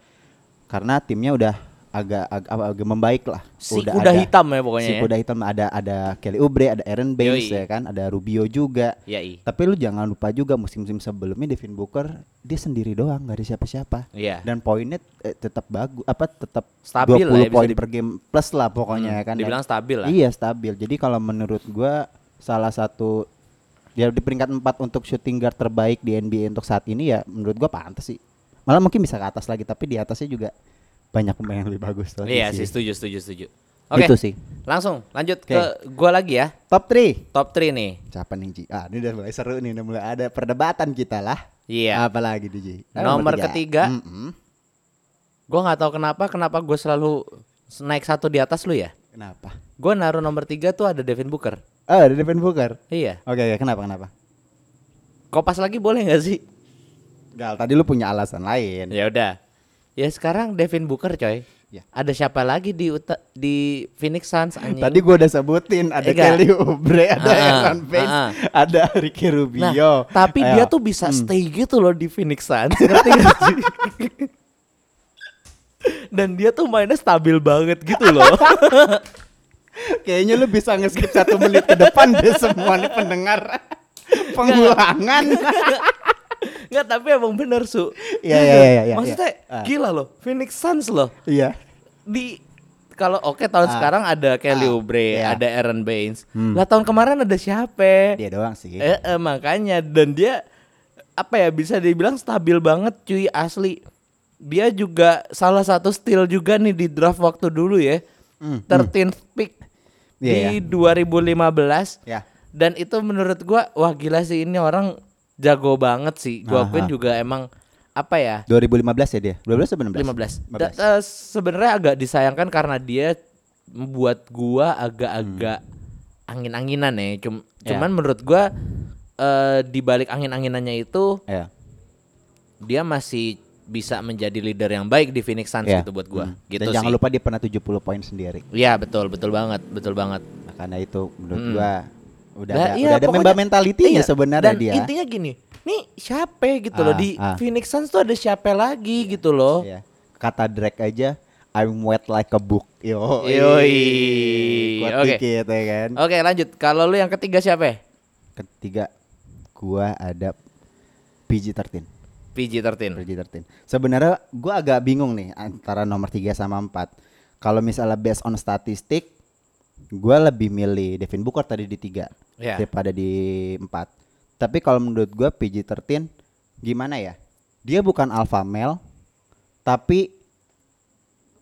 S2: karena timnya udah agak agak, apa, agak membaik lah.
S1: Si
S2: Udah
S1: kuda,
S2: ada-
S1: hitam ya pokoknya
S2: si
S1: ya.
S2: kuda hitam ada ada Kelly Oubre, ada Aaron Baines
S1: Yoi.
S2: ya kan, ada Rubio juga.
S1: Yai.
S2: Tapi lu jangan lupa juga musim-musim sebelumnya Devin Booker dia sendiri doang, nggak ada siapa-siapa.
S1: Iya.
S2: Dan poinnya eh, tetap bagus, apa tetap
S1: Stabil lah ya,
S2: 20
S1: bisa
S2: poin
S1: dib-
S2: per game plus lah pokoknya ya kan.
S1: Dibilang stabil lah.
S2: Iya stabil. Jadi kalau menurut gua salah satu dia di peringkat 4 untuk shooting guard terbaik di NBA untuk saat ini ya menurut gua pantas sih. Malah mungkin bisa ke atas lagi tapi di atasnya juga banyak pemain yang lebih bagus lagi
S1: Iya sih, setuju setuju setuju. Oke.
S2: Itu sih.
S1: Langsung lanjut
S2: Oke.
S1: ke gua lagi ya.
S2: Top 3.
S1: Top 3 nih.
S2: Siapa nih Ji? Ah, ini udah mulai seru nih, udah mulai ada perdebatan kita lah.
S1: Iya.
S2: Apalagi di Ji? Nah,
S1: Nomor ketiga.
S2: Mm-mm.
S1: Gua nggak tahu kenapa kenapa gua selalu naik satu di atas lu ya.
S2: Kenapa?
S1: Gua naruh nomor 3 tuh ada Devin Booker.
S2: Oh, ada Devin Booker.
S1: Iya.
S2: Oke, oke, kenapa kenapa?
S1: Kopas lagi boleh nggak sih?
S2: Gal, tadi lu punya alasan lain.
S1: Ya udah. Ya sekarang Devin Booker coy.
S2: Ya.
S1: Ada siapa lagi di Uta- di Phoenix Suns anjing?
S2: Tadi gua udah sebutin ada
S1: Enggak.
S2: Kelly Oubre, ada
S1: Iya. Ah,
S2: Aaron Baines,
S1: ah.
S2: ada Ricky Rubio.
S1: Nah, tapi
S2: Ayo. Hmm.
S1: dia tuh bisa stay gitu loh di Phoenix Suns. Ngerti nggak sih? Dan dia tuh mainnya stabil banget gitu loh.
S2: kayaknya lu bisa nge-skip satu menit ke depan deh semua nih pendengar. Pengulangan.
S1: Nggak, tapi emang bener su.
S2: Iya,
S1: Gitu.
S2: iya, iya, iya,
S1: Maksudnya
S2: iya. Ah.
S1: gila loh, Phoenix Suns loh.
S2: Iya.
S1: Di kalau oke tahun
S2: Ah.
S1: sekarang ada Kelly
S2: Ah,
S1: Oubre,
S2: iya. Hmm.
S1: ada Aaron Baines. Lah tahun kemarin ada siapa?
S2: Dia doang sih.
S1: Eh, eh, makanya dan dia apa ya bisa dibilang stabil banget cuy asli. Dia juga salah satu steal juga nih di draft waktu dulu ya.
S2: Hmm,
S1: 13th pick di
S2: Iya,
S1: 2015.
S2: Ya.
S1: Dan itu menurut gua wah gila sih ini orang jago banget sih. Gua akuin
S2: Aha.
S1: juga emang apa ya?
S2: 2015 ya dia. 12 atau 16?
S1: 15. Da- eh, Sebenarnya agak disayangkan karena dia membuat gua agak-agak angin-anginan ya. Cum-
S2: Hmm. Ya.
S1: Cuman menurut gua eh, di balik angin-anginannya itu
S2: Ya.
S1: dia masih bisa menjadi leader yang baik di Phoenix Suns
S2: Ya.
S1: gitu buat gua.
S2: Hmm.
S1: Gitu
S2: Dan
S1: sih.
S2: jangan lupa dia pernah 70 poin sendiri.
S1: Iya, betul, betul banget, betul banget.
S2: Nah, karena itu menurut
S1: Hmm.
S2: gua udah
S1: Nah,
S2: ada,
S1: iya,
S2: udah ada
S1: pokoknya-
S2: member mentality-nya
S1: iya,
S2: sebenarnya
S1: dan
S2: dia.
S1: Intinya gini, nih siapa gitu loh
S2: Ah,
S1: di
S2: ah.
S1: Phoenix Suns tuh ada siapa lagi gitu loh.
S2: Iya. Kata Drake aja I'm wet like a book. Yo.
S1: Yoi. Oke.
S2: Kuat
S1: Oh.
S2: dikit ya kan.
S1: Oke, lanjut. Kalau lu yang ketiga siapa?
S2: Ketiga gua ada PG-13.
S1: PG-13.
S2: PG-13. Sebenarnya gua agak bingung nih antara nomor 3 sama 4. Kalau misalnya based on statistik, gua lebih milih Devin Booker tadi di 3
S1: Iya.
S2: daripada di 4. Tapi kalau menurut gua PG-13 gimana ya? Dia bukan alpha male tapi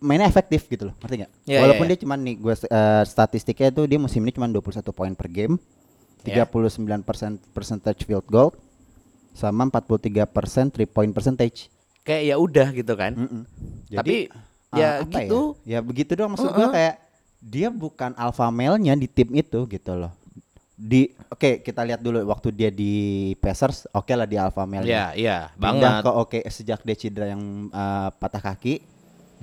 S2: mainnya efektif gitu loh, ngerti nggak?
S1: Iya,
S2: Walaupun
S1: iya, iya.
S2: dia cuman nih gua eh, statistiknya itu dia musim ini cuman 21 poin per game,
S1: Iya.
S2: 39% percentage field goal sama 43% three point percentage.
S1: Kayak ya udah gitu kan.
S2: Mm-mm.
S1: Tapi,
S2: ah,
S1: ya
S2: apa
S1: gitu.
S2: Ya, begitu doang maksud gua kayak dia bukan alpha male-nya di tim itu gitu loh. Di oke kita lihat dulu waktu dia di Pacers, oke lah di alpha male.
S1: Iya, iya,
S2: Pindah
S1: banget.
S2: ke oke sejak dia cedera yang eh, patah kaki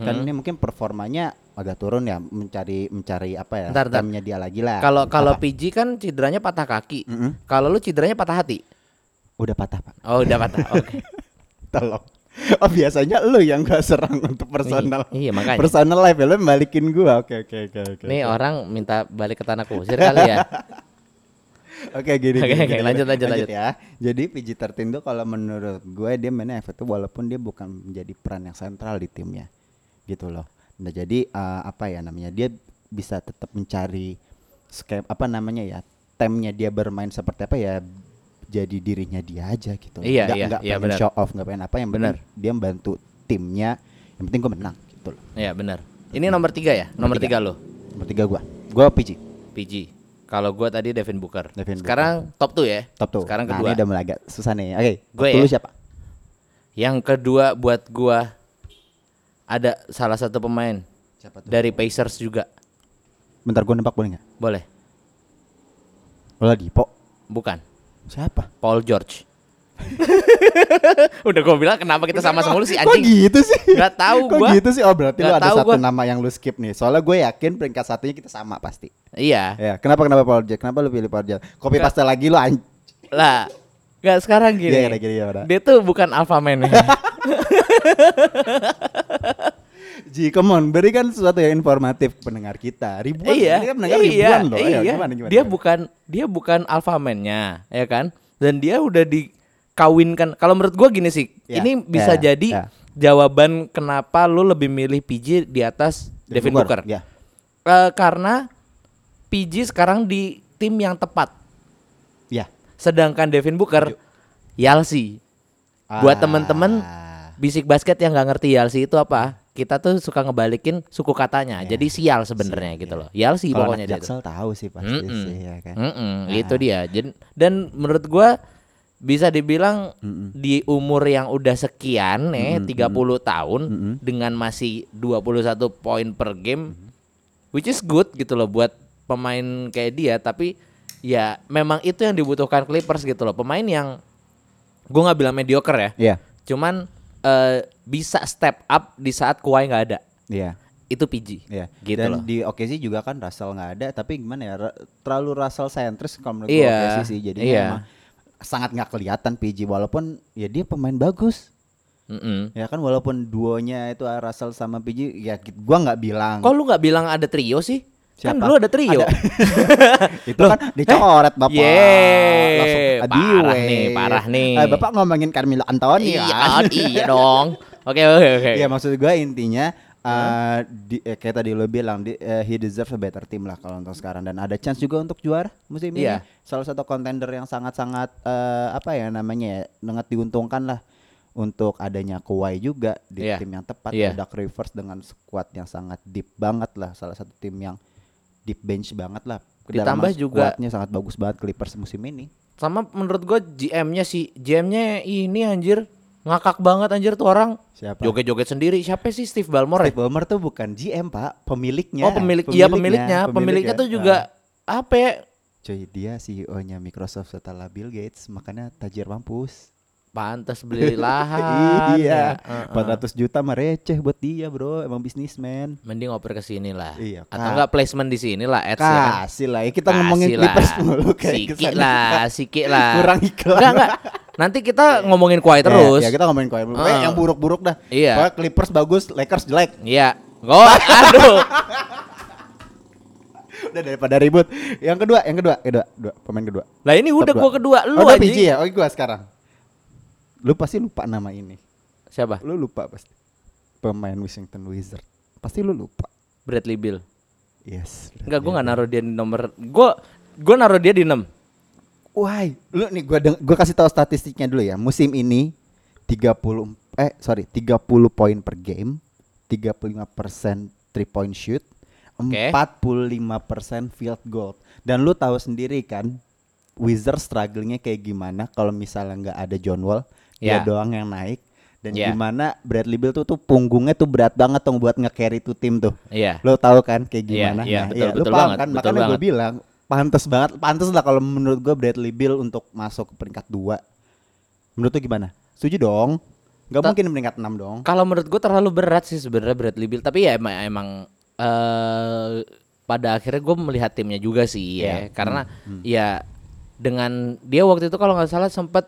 S2: kan
S1: Hmm.
S2: ini mungkin performanya agak turun ya mencari mencari apa ya
S1: Ntar, ntar.
S2: timnya dia lagi lah
S1: Kalau kalau
S2: Apa?
S1: PG kan cederanya patah kaki.
S2: Mm-mm.
S1: Kalau lu cederanya patah hati.
S2: udah patah pak
S1: Oh, udah patah. Oke.
S2: tolong oh biasanya lu yang gak serang untuk personal
S1: Nih, iya, makanya.
S2: personal life ya lu balikin gua oke oke oke oke
S1: Nih orang minta balik ke tanah kusir kali ya.
S2: Oke gini,
S1: Oke,
S2: gini,
S1: oke,
S2: gini.
S1: lanjut, lanjut, lanjut.
S2: ya. Jadi PG-13 tuh kalau menurut gue dia mainnya efektif walaupun dia bukan menjadi peran yang sentral di timnya, gitu loh. Nah jadi eh, apa ya namanya dia bisa tetap mencari skema apa namanya ya temnya dia bermain seperti apa ya jadi dirinya dia aja gitu. loh.
S1: Iya,
S2: Nggak-
S1: iya,
S2: nggak
S1: iya,
S2: pengen
S1: benar.
S2: show off nggak pengen apa yang
S1: Benar.
S2: benar dia membantu timnya. Yang penting gue menang gitu loh.
S1: Iya, benar. Ini nomor tiga ya? Nomor tiga
S2: tiga.
S1: lu.
S2: Nomor tiga gue, gue PG
S1: PG. Kalau gua tadi Devin Booker.
S2: Devin
S1: Sekarang top 2 ya.
S2: top tuh.
S1: Sekarang
S2: Nah,
S1: kedua.
S2: ini udah mulai agak susah nih. Oke,
S1: Gue
S2: top dulu
S1: ya.
S2: siapa?
S1: Yang kedua buat gua ada salah satu pemain
S2: Siapa
S1: dari Pacers juga.
S2: Bentar gue nembak boleh nggak?
S1: Boleh.
S2: Lo lagi po?
S1: Bukan.
S2: Siapa?
S1: Paul George. Udah gua bilang kenapa kita sama sama lu sih
S2: Kok
S1: anjing.
S2: gitu sih?
S1: Nggak tahu
S2: Kok
S1: gua.
S2: gitu sih? Oh berarti lu
S1: Nggak
S2: ada
S1: tahu
S2: satu
S1: gua.
S2: nama yang lu skip nih. Soalnya gue yakin peringkat satunya kita sama pasti.
S1: Iya.
S2: Ya, kenapa kenapa Paul Jack? Kenapa lu pilih Paul Jack? Kopi
S1: Nggak.
S2: pasta lagi lu anj-
S1: Lah, nggak sekarang gini.
S2: Iya, iya, iya, iya, iya.
S1: Dia tuh bukan alpha man.
S2: Ji, come on, berikan sesuatu yang informatif ke pendengar kita. Ribuan, ini kan pendengar ribuan loh. Ayo,
S1: iya.
S2: gimana, gimana,
S1: dia
S2: gimana?
S1: bukan dia bukan alpha man-nya, ya kan? Dan dia udah dikawinkan. Kalau menurut gua gini sih,
S2: Ya,
S1: ini bisa
S2: ya,
S1: jadi
S2: ya.
S1: jawaban kenapa lu lebih milih PG di atas Devin Booker.
S2: Ya.
S1: Eh, karena PG sekarang di tim yang tepat.
S2: Ya.
S1: Sedangkan Devin Booker Yalsi. Buat
S2: Ah.
S1: temen-temen bisik basket yang nggak ngerti Yalsi itu apa? Kita tuh suka ngebalikin suku katanya. Jadi sial sebenarnya gitu loh. Yalsi
S2: Ya. iya. Kalau
S1: pokoknya
S2: anak
S1: dia tuh.
S2: Jaksel tahu sih pasti
S1: Mm-mm.
S2: sih ya kan.
S1: Mm-mm, itu dia. Jen- Dan menurut gua bisa dibilang di umur yang udah sekian eh 30 tahun dengan masih 21 poin per game which is good gitu loh buat pemain kayak dia tapi ya memang itu yang dibutuhkan Clippers gitu loh. Pemain yang gua nggak bilang mediocre ya.
S2: Iya.
S1: Cuman eh, bisa step up di saat Kawhi nggak ada.
S2: Iya.
S1: Itu PG.
S2: Iya.
S1: Gitu
S2: Dan
S1: loh.
S2: di OKC juga kan Russell nggak ada, tapi gimana ya? ra- Terlalu Russell sentris kalau menurut gua
S1: Iya,
S2: OKC sih. Jadi
S1: iya.
S2: memang sangat nggak kelihatan PG walaupun ya dia pemain bagus.
S1: Mm-mm.
S2: Ya kan walaupun duonya itu ah, Russell sama PG ya ki- gua nggak bilang.
S1: Hmm. Kok lu nggak bilang ada trio sih? Kan
S2: Siapa?
S1: dulu ada trio.
S2: itu kan dicoret Bapak.
S1: Yeay,
S2: Langsung
S1: eh, parah
S2: adiwe.
S1: nih, parah nih.
S2: Eh, Bapak ngomongin Carmelo Anthony
S1: iya,
S2: kan?
S1: kan? iya dong. Oke, oke, oke.
S2: Iya maksud gue intinya eh, di- eh, kayak tadi lo bilang di, eh, he deserves a better team lah kalau untuk sekarang dan ada chance juga untuk juara musim
S1: Iya.
S2: ini. Salah satu kontender yang sangat-sangat eh, apa ya namanya ya, sangat diuntungkan lah untuk adanya Kawhi juga di
S1: Iya.
S2: tim yang tepat
S1: Iya.
S2: ada Rivers dengan squad yang sangat deep banget lah salah satu tim yang deep bench banget lah. Kedalaman
S1: Ditambah juga-
S2: squadnya sangat bagus banget Clippers musim ini.
S1: Sama menurut gue GM-nya sih, GM-nya ini anjir ngakak banget anjir tuh orang.
S2: Siapa?
S1: Joget-joget sendiri. Siapa sih Steve Ballmer? ya?
S2: Steve Ballmer tuh bukan GM pak, pemiliknya.
S1: Oh, pemilik. Iya, pemiliknya. Pemiliknya tuh
S2: Ah.
S1: juga apa ya?
S2: Cuy, dia CEO-nya Microsoft setelah Bill Gates, makanya tajir mampus.
S1: Pantes beli lahan.
S2: iya,
S1: ya. Eh, eh.
S2: 400 juta mah receh buat dia, Bro. Emang bisnismen.
S1: Mending oper ke sini lah.
S2: Iya,
S1: Atau
S2: Kak.
S1: enggak placement di sini lah ads ya kan?
S2: Kasih lah, ya, kita ngomongin
S1: Kasih lah.
S2: Clippers mulu kayak
S1: Siki
S2: kesana.
S1: lah, siki lah.
S2: Kurang iklan.
S1: Enggak, enggak. Nanti kita ngomongin kuai
S2: Ya,
S1: terus.
S2: Ya, kita ngomongin kok
S1: Ah.
S2: yang buruk-buruk dah.
S1: Iya.
S2: Pokoknya Clippers bagus, Lakers jelek.
S1: Iya. Gol. Aduh.
S2: Udah daripada ribut. Yang kedua, yang kedua, kedua, kedua pemain kedua.
S1: Lah ini udah
S2: Top dua.
S1: gua kedua, lu
S2: oh, udah
S1: anjing.
S2: PG ya? Oke, gua sekarang. Lu pasti lupa nama ini.
S1: Siapa?
S2: Lu lupa pasti. Pemain Washington Wizard. Pasti lu lupa.
S1: Bradley Bill.
S2: Yes.
S1: Enggak, gua enggak naruh dia di nomor gua gua naruh dia di 6.
S2: Why? Lu nih gua deng- gua kasih tahu statistiknya dulu ya. Musim ini 30 eh sorry 30 poin per game, 35% three point shoot,
S1: Oke.
S2: 45% field goal. Dan lu tahu sendiri kan Wizards strugglingnya kayak gimana kalau misalnya nggak ada John Wall,
S1: Ya.
S2: dia doang yang naik. Dan
S1: Ya.
S2: gimana Bradley Beal tuh tuh punggungnya tuh berat banget tuh buat nge-carry tuh tim tuh.
S1: Iya.
S2: Lo tahu kan kayak
S1: Iya,
S2: gimana?
S1: iya,
S2: Nah,
S1: betul,
S2: lu
S1: betul
S2: paham
S1: banget,
S2: kan?
S1: betul
S2: Makanya gue
S1: banget.
S2: bilang pantas banget, pantas lah kalau menurut gue Bradley Bill untuk masuk ke peringkat 2. Menurut lu gimana? Setuju dong? Gak
S1: Ta-
S2: mungkin peringkat 6 dong.
S1: Kalau menurut gua terlalu berat sih sebenarnya Bradley Bill, tapi ya emang emang eh pada akhirnya gua melihat timnya juga sih ya,
S2: Iya.
S1: karena
S2: Hmm.
S1: ya dengan dia waktu itu kalau nggak salah sempat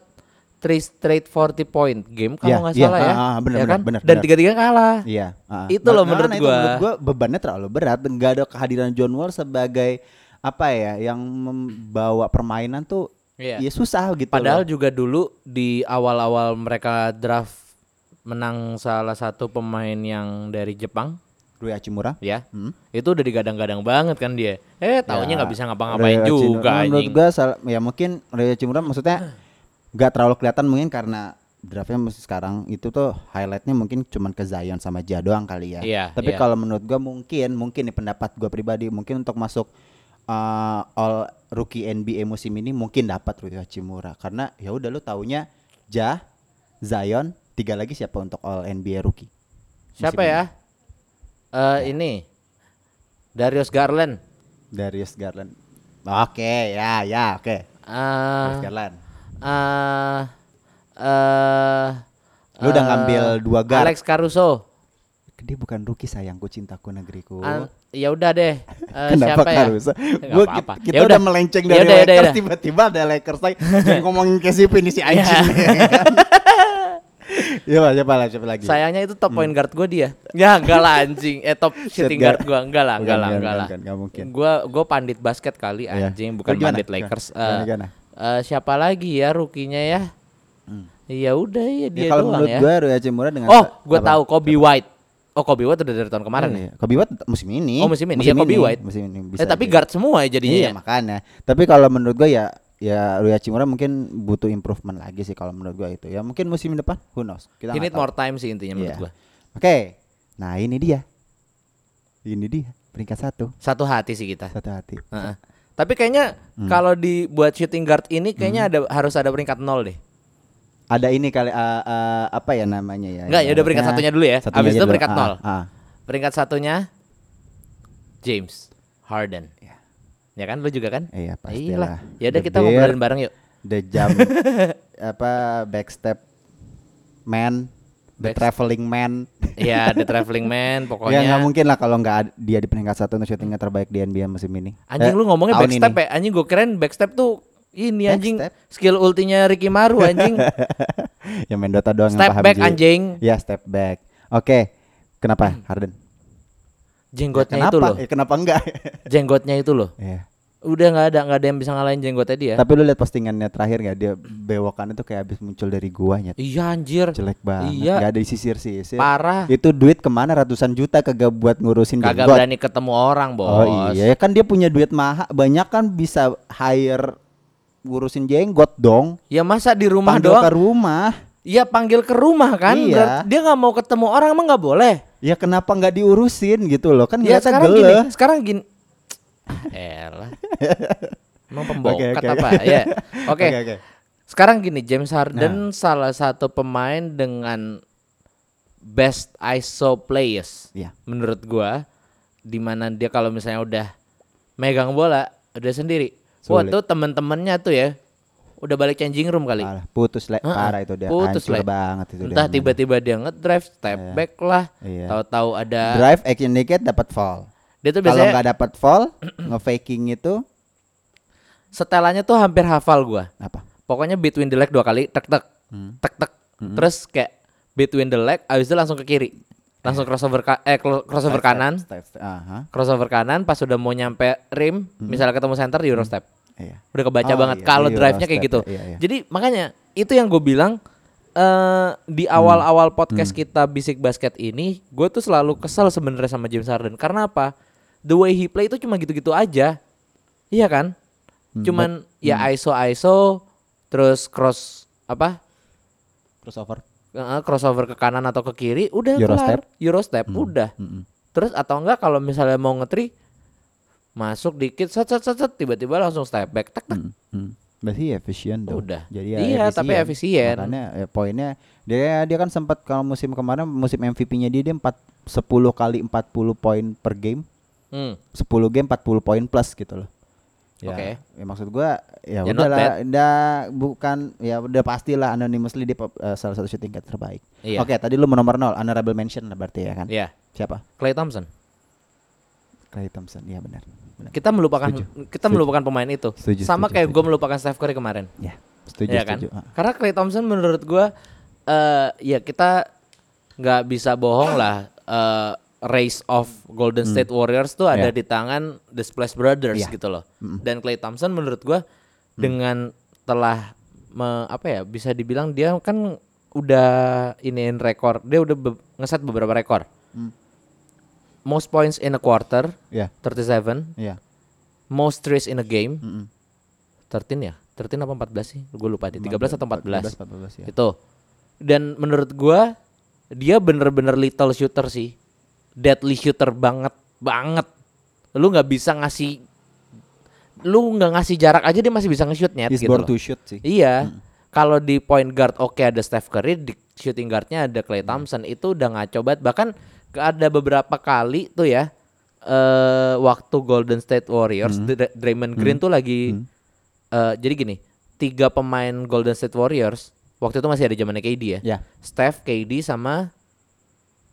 S1: three straight 40 point game
S2: Iya,
S1: kalau nggak
S2: iya,
S1: salah ya.
S2: ah, ah, bener,
S1: ya
S2: bener,
S1: kan?
S2: bener,
S1: Dan
S2: bener.
S1: tiga-tiga kalah.
S2: Iya. ah.
S1: Itu loh menurut
S2: karena
S1: gua.
S2: menurut gua bebannya terlalu berat. Gak ada kehadiran John Wall sebagai apa ya yang membawa permainan tuh
S1: Iya.
S2: ya susah gitu.
S1: Padahal
S2: loh.
S1: juga dulu di awal-awal mereka draft menang salah satu pemain yang dari Jepang,
S2: Rui Hachimura.
S1: ya.
S2: Hmm.
S1: Itu udah digadang-gadang banget kan dia. Eh, taunya
S2: Ya,
S1: nggak bisa ngapa-ngapain
S2: Ryo
S1: juga
S2: Hachimura. Menurut
S1: anjing.
S2: gua sal- ya mungkin Ryo Cimura maksudnya nggak terlalu kelihatan mungkin karena draftnya masih sekarang itu tuh highlightnya mungkin cuman ke Zion sama Ja doang kali ya.
S1: Iya,
S2: Tapi
S1: iya.
S2: kalau menurut gua mungkin mungkin nih pendapat gua pribadi mungkin untuk masuk uh, all rookie NBA musim ini mungkin dapat Ryo Hachimura karena ya udah lu taunya Ja, Zion, tiga lagi siapa untuk all NBA rookie.
S1: Siapa ya? Eh,
S2: Ya.
S1: ini Darius Garland. Eh,
S2: Darius Garland. Oke, ya ya oke. Darius
S1: Eh,
S2: Garland.
S1: eh, eh,
S2: Lu udah
S1: eh,
S2: ngambil dua guard.
S1: Alex Caruso.
S2: Dia bukan rookie sayangku cintaku negeriku.
S1: An- ya udah deh. Eh,
S2: Oh. Kenapa
S1: siapa ya?
S2: Caruso?
S1: Nggak
S2: Gua kita,
S1: apa-apa.
S2: kita
S1: Ya
S2: udah melenceng
S1: Ya
S2: dari
S1: udah, ya udah, ya
S2: Lakers
S1: udah. Iya.
S2: tiba-tiba ada Lakers lagi Jangan ngomongin Casey Pin si anjing. Iya, Pak, siapa lah, siapa lagi?
S1: Sayangnya itu top point guard gue dia. Ya enggak lah anjing. Eh top shooting
S2: Hmm. guard.
S1: guard gue enggak lah, enggak
S2: Bukan,
S1: lah,
S2: bukan,
S1: enggak lah.
S2: bukan, nggak mungkin.
S1: Gue gue pandit basket kali
S2: Iya.
S1: anjing,
S2: Lu
S1: bukan
S2: gimana?
S1: pandit Lakers.
S2: Gimana,
S1: Eh,
S2: gimana? Hmm.
S1: eh, siapa lagi ya rukinya ya? Ya udah ya
S2: Ya,
S1: dia
S2: kalau
S1: doang
S2: menurut
S1: ya.
S2: gue Rui Hachimura dengan
S1: oh,
S2: sa-
S1: gue
S2: apa?
S1: tahu Kobe White. Oh, Kobe White udah dari tahun kemarin ya.
S2: Iya, Kobe White musim ini.
S1: Oh, musim ini. Iya, Kobe White.
S2: Musim ini bisa.
S1: Eh, tapi
S2: jadi.
S1: guard semua ya jadinya.
S2: Iya,
S1: ya?
S2: makanya. Tapi kalau menurut gue ya ya Rui Hachimura mungkin butuh improvement lagi sih kalau menurut gue itu. Ya mungkin musim depan who knows. Kita
S1: He
S2: nggak
S1: need
S2: tahu.
S1: more time sih intinya menurut
S2: Iya.
S1: gue.
S2: Oke. Nah, ini dia. Ini dia peringkat satu
S1: Satu hati sih kita.
S2: satu hati. Hmm.
S1: Heeh. Tapi kayaknya kalau dibuat shooting guard ini kayaknya ada harus ada peringkat nol deh.
S2: Ada ini kali eh, eh, apa ya namanya ya?
S1: Enggak, ya udah peringkat
S2: Ibaratnya
S1: satunya dulu ya.
S2: satunya
S1: Habis
S2: aja
S1: itu
S2: dulu.
S1: peringkat
S2: Ah,
S1: nol.
S2: ah.
S1: Peringkat satunya James Harden. Ya. kan lu juga kan?
S2: Iya,
S1: Iya lah.
S2: pastilah.
S1: Ya udah
S2: The
S1: kita
S2: Bear.
S1: ngobrolin bareng yuk.
S2: The jump apa backstep man, the
S1: Backst-
S2: traveling man.
S1: Iya, The Traveling Man
S2: Ya nggak
S1: pokoknya.
S2: mungkin lah kalau nggak ad- dia di peringkat satu untuk syutingnya terbaik di NBA musim ini.
S1: anjing
S2: Eh,
S1: lu ngomongnya
S2: tahun
S1: backstep
S2: ini.
S1: ya. Anjing gue keren backstep tuh ini anjing
S2: Backstep?
S1: skill ultinya Ricky Maru anjing.
S2: yang Ya, main Dota doang yang
S1: Step
S2: paham
S1: back,
S2: Ji.
S1: anjing. Hmm.
S2: Ya step back. Oke, kenapa Harden?
S1: Jenggotnya
S2: kenapa?
S1: itu loh.
S2: Ya, kenapa enggak?
S1: Jenggotnya itu loh.
S2: Iya.
S1: Udah nggak ada nggak ada yang bisa ngalahin jenggotnya dia.
S2: Tapi lu lihat postingannya terakhir nggak dia bewokannya tuh kayak abis muncul dari guanya.
S1: Iya anjir.
S2: Jelek banget.
S1: Iya.
S2: Nggak ada sisir sisir.
S1: Parah.
S2: Itu duit kemana ratusan juta kagak buat ngurusin
S1: Kagak
S2: jenggot.
S1: berani ketemu orang, Bos.
S2: Oh iya kan dia punya duit mahal banyak kan bisa hire ngurusin jenggot dong.
S1: Ya masa di rumah
S2: Panggil
S1: doang?
S2: ke rumah.
S1: Iya panggil ke rumah kan?
S2: Iya.
S1: Berarti dia nggak mau ketemu orang emang nggak boleh.
S2: Ya kenapa nggak diurusin gitu loh kan
S1: Ya
S2: ngeliatnya
S1: sekarang
S2: gele.
S1: gini, sekarang gini. Ah, Elah. Emang pembokat
S2: Oke, oke,
S1: apa?
S2: oke.
S1: Ya. Oke.
S2: Oke, Nah. oke.
S1: Sekarang gini, James Harden salah satu pemain dengan best ISO players.
S2: Iya.
S1: Menurut gua dimana dia kalau misalnya udah megang bola udah sendiri. Wah,
S2: Sulit.
S1: tuh temen-temennya tuh ya udah balik changing room kali.
S2: Parah, putus le,
S1: Heeh,
S2: parah itu dia.
S1: putus,
S2: Hancur
S1: Le.
S2: banget itu dia
S1: Entah
S2: mainnya.
S1: tiba-tiba dia ngedrive, step
S2: Iya.
S1: back lah,
S2: Iya.
S1: tahu-tahu ada
S2: drive action dikit dapat fall.
S1: dia tuh
S2: Kalau
S1: biasanya
S2: nggak dapat fall, ngefaking itu
S1: setelannya tuh hampir hafal gua.
S2: apa?
S1: Pokoknya between the leg dua kali, tek tek,
S2: Hmm.
S1: tek tek. Terus kayak between the leg, abis itu langsung ke kiri,
S2: Iya.
S1: langsung crossover ka- eh clo- crossover
S2: Step,
S1: kanan,
S2: step, step. Aha,
S1: crossover kanan. Pas udah mau nyampe rim,
S2: Hmm.
S1: misalnya ketemu center di euro step.
S2: iya.
S1: udah kebaca
S2: Oh,
S1: banget
S2: iya,
S1: kalau
S2: iya,
S1: drive-nya kayak
S2: step,
S1: gitu.
S2: iya, iya.
S1: Jadi makanya itu yang gue bilang eh di
S2: Hmm.
S1: awal-awal podcast kita bisik basket ini, gue tuh selalu kesel sebenarnya sama James Harden. Karena apa? The way he play itu cuma gitu-gitu aja. Iya kan?
S2: Hmm,
S1: Cuman ya ISO ISO terus cross apa?
S2: Crossover.
S1: eh, crossover ke kanan atau ke kiri udah
S2: Eurostep.
S1: kelar. Eurostep
S2: Hmm,
S1: udah.
S2: Mm-mm.
S1: Terus atau enggak kalau misalnya mau ngetri masuk dikit set set set, set, tiba-tiba langsung step back tek tek
S2: Hmm. Berarti efisien dong.
S1: Udah.
S2: Jadi ya
S1: Iya, tapi efisien.
S2: Makanya ya, poinnya dia dia kan sempat kalau musim kemarin musim MVP-nya dia dia 4 10 kali 40 poin per game.
S1: Hmm.
S2: 10 game 40 poin plus gitu loh. Ya,
S1: Oke.
S2: ya maksud gua ya
S1: Ya, not
S2: udahlah, nda- bukan ya udah pastilah anonymously dia pe- eh, salah satu shooting guard terbaik.
S1: Iya.
S2: Oke, tadi lu nomor 0 honorable mention lah berarti ya kan.
S1: Iya.
S2: Siapa?
S1: Clay Thompson.
S2: Clay Thompson. Iya benar. benar.
S1: Kita melupakan kita
S2: Setuju.
S1: melupakan pemain itu.
S2: Setuju,
S1: Sama
S2: setuju,
S1: kayak
S2: setuju.
S1: gue melupakan Steph Curry kemarin.
S2: Ya, setuju
S1: Iya kan?
S2: setuju. Ah.
S1: Karena Clay Thompson menurut gue eh ya kita nggak bisa bohong lah eh race of Golden State Warriors tuh ada
S2: Iya.
S1: di tangan The Splash Brothers
S2: Hmm. Iya. Hmm.
S1: gitu loh. Dan Clay Thompson menurut gue dengan telah me- apa ya bisa dibilang dia kan udah iniin rekor. Dia udah be- ngeset beberapa rekor.
S2: Hmm.
S1: Most points in a quarter
S2: Ya,
S1: 37
S2: ya.
S1: most threes in a game
S2: Mm-mm.
S1: 13 ya 13 apa 14 sih gue lupa deh 13 atau 14,
S2: 14 ya.
S1: itu dan menurut gua dia bener-bener little shooter sih deadly shooter banget banget lu nggak bisa ngasih lu nggak ngasih jarak aja dia masih bisa nge-shoot nyet
S2: He's
S1: gitu
S2: born
S1: loh.
S2: to shoot sih.
S1: Iya. Kalau di point guard oke ada Steph Curry, di shooting guardnya ada Clay Thompson itu udah ngaco banget. Bahkan ke- ada beberapa kali tuh ya eh waktu Golden State Warriors Dra- Draymond Green tuh lagi eh, jadi gini, tiga pemain Golden State Warriors waktu itu masih ada zamannya KD ya.
S2: Ya.
S1: Steph, KD sama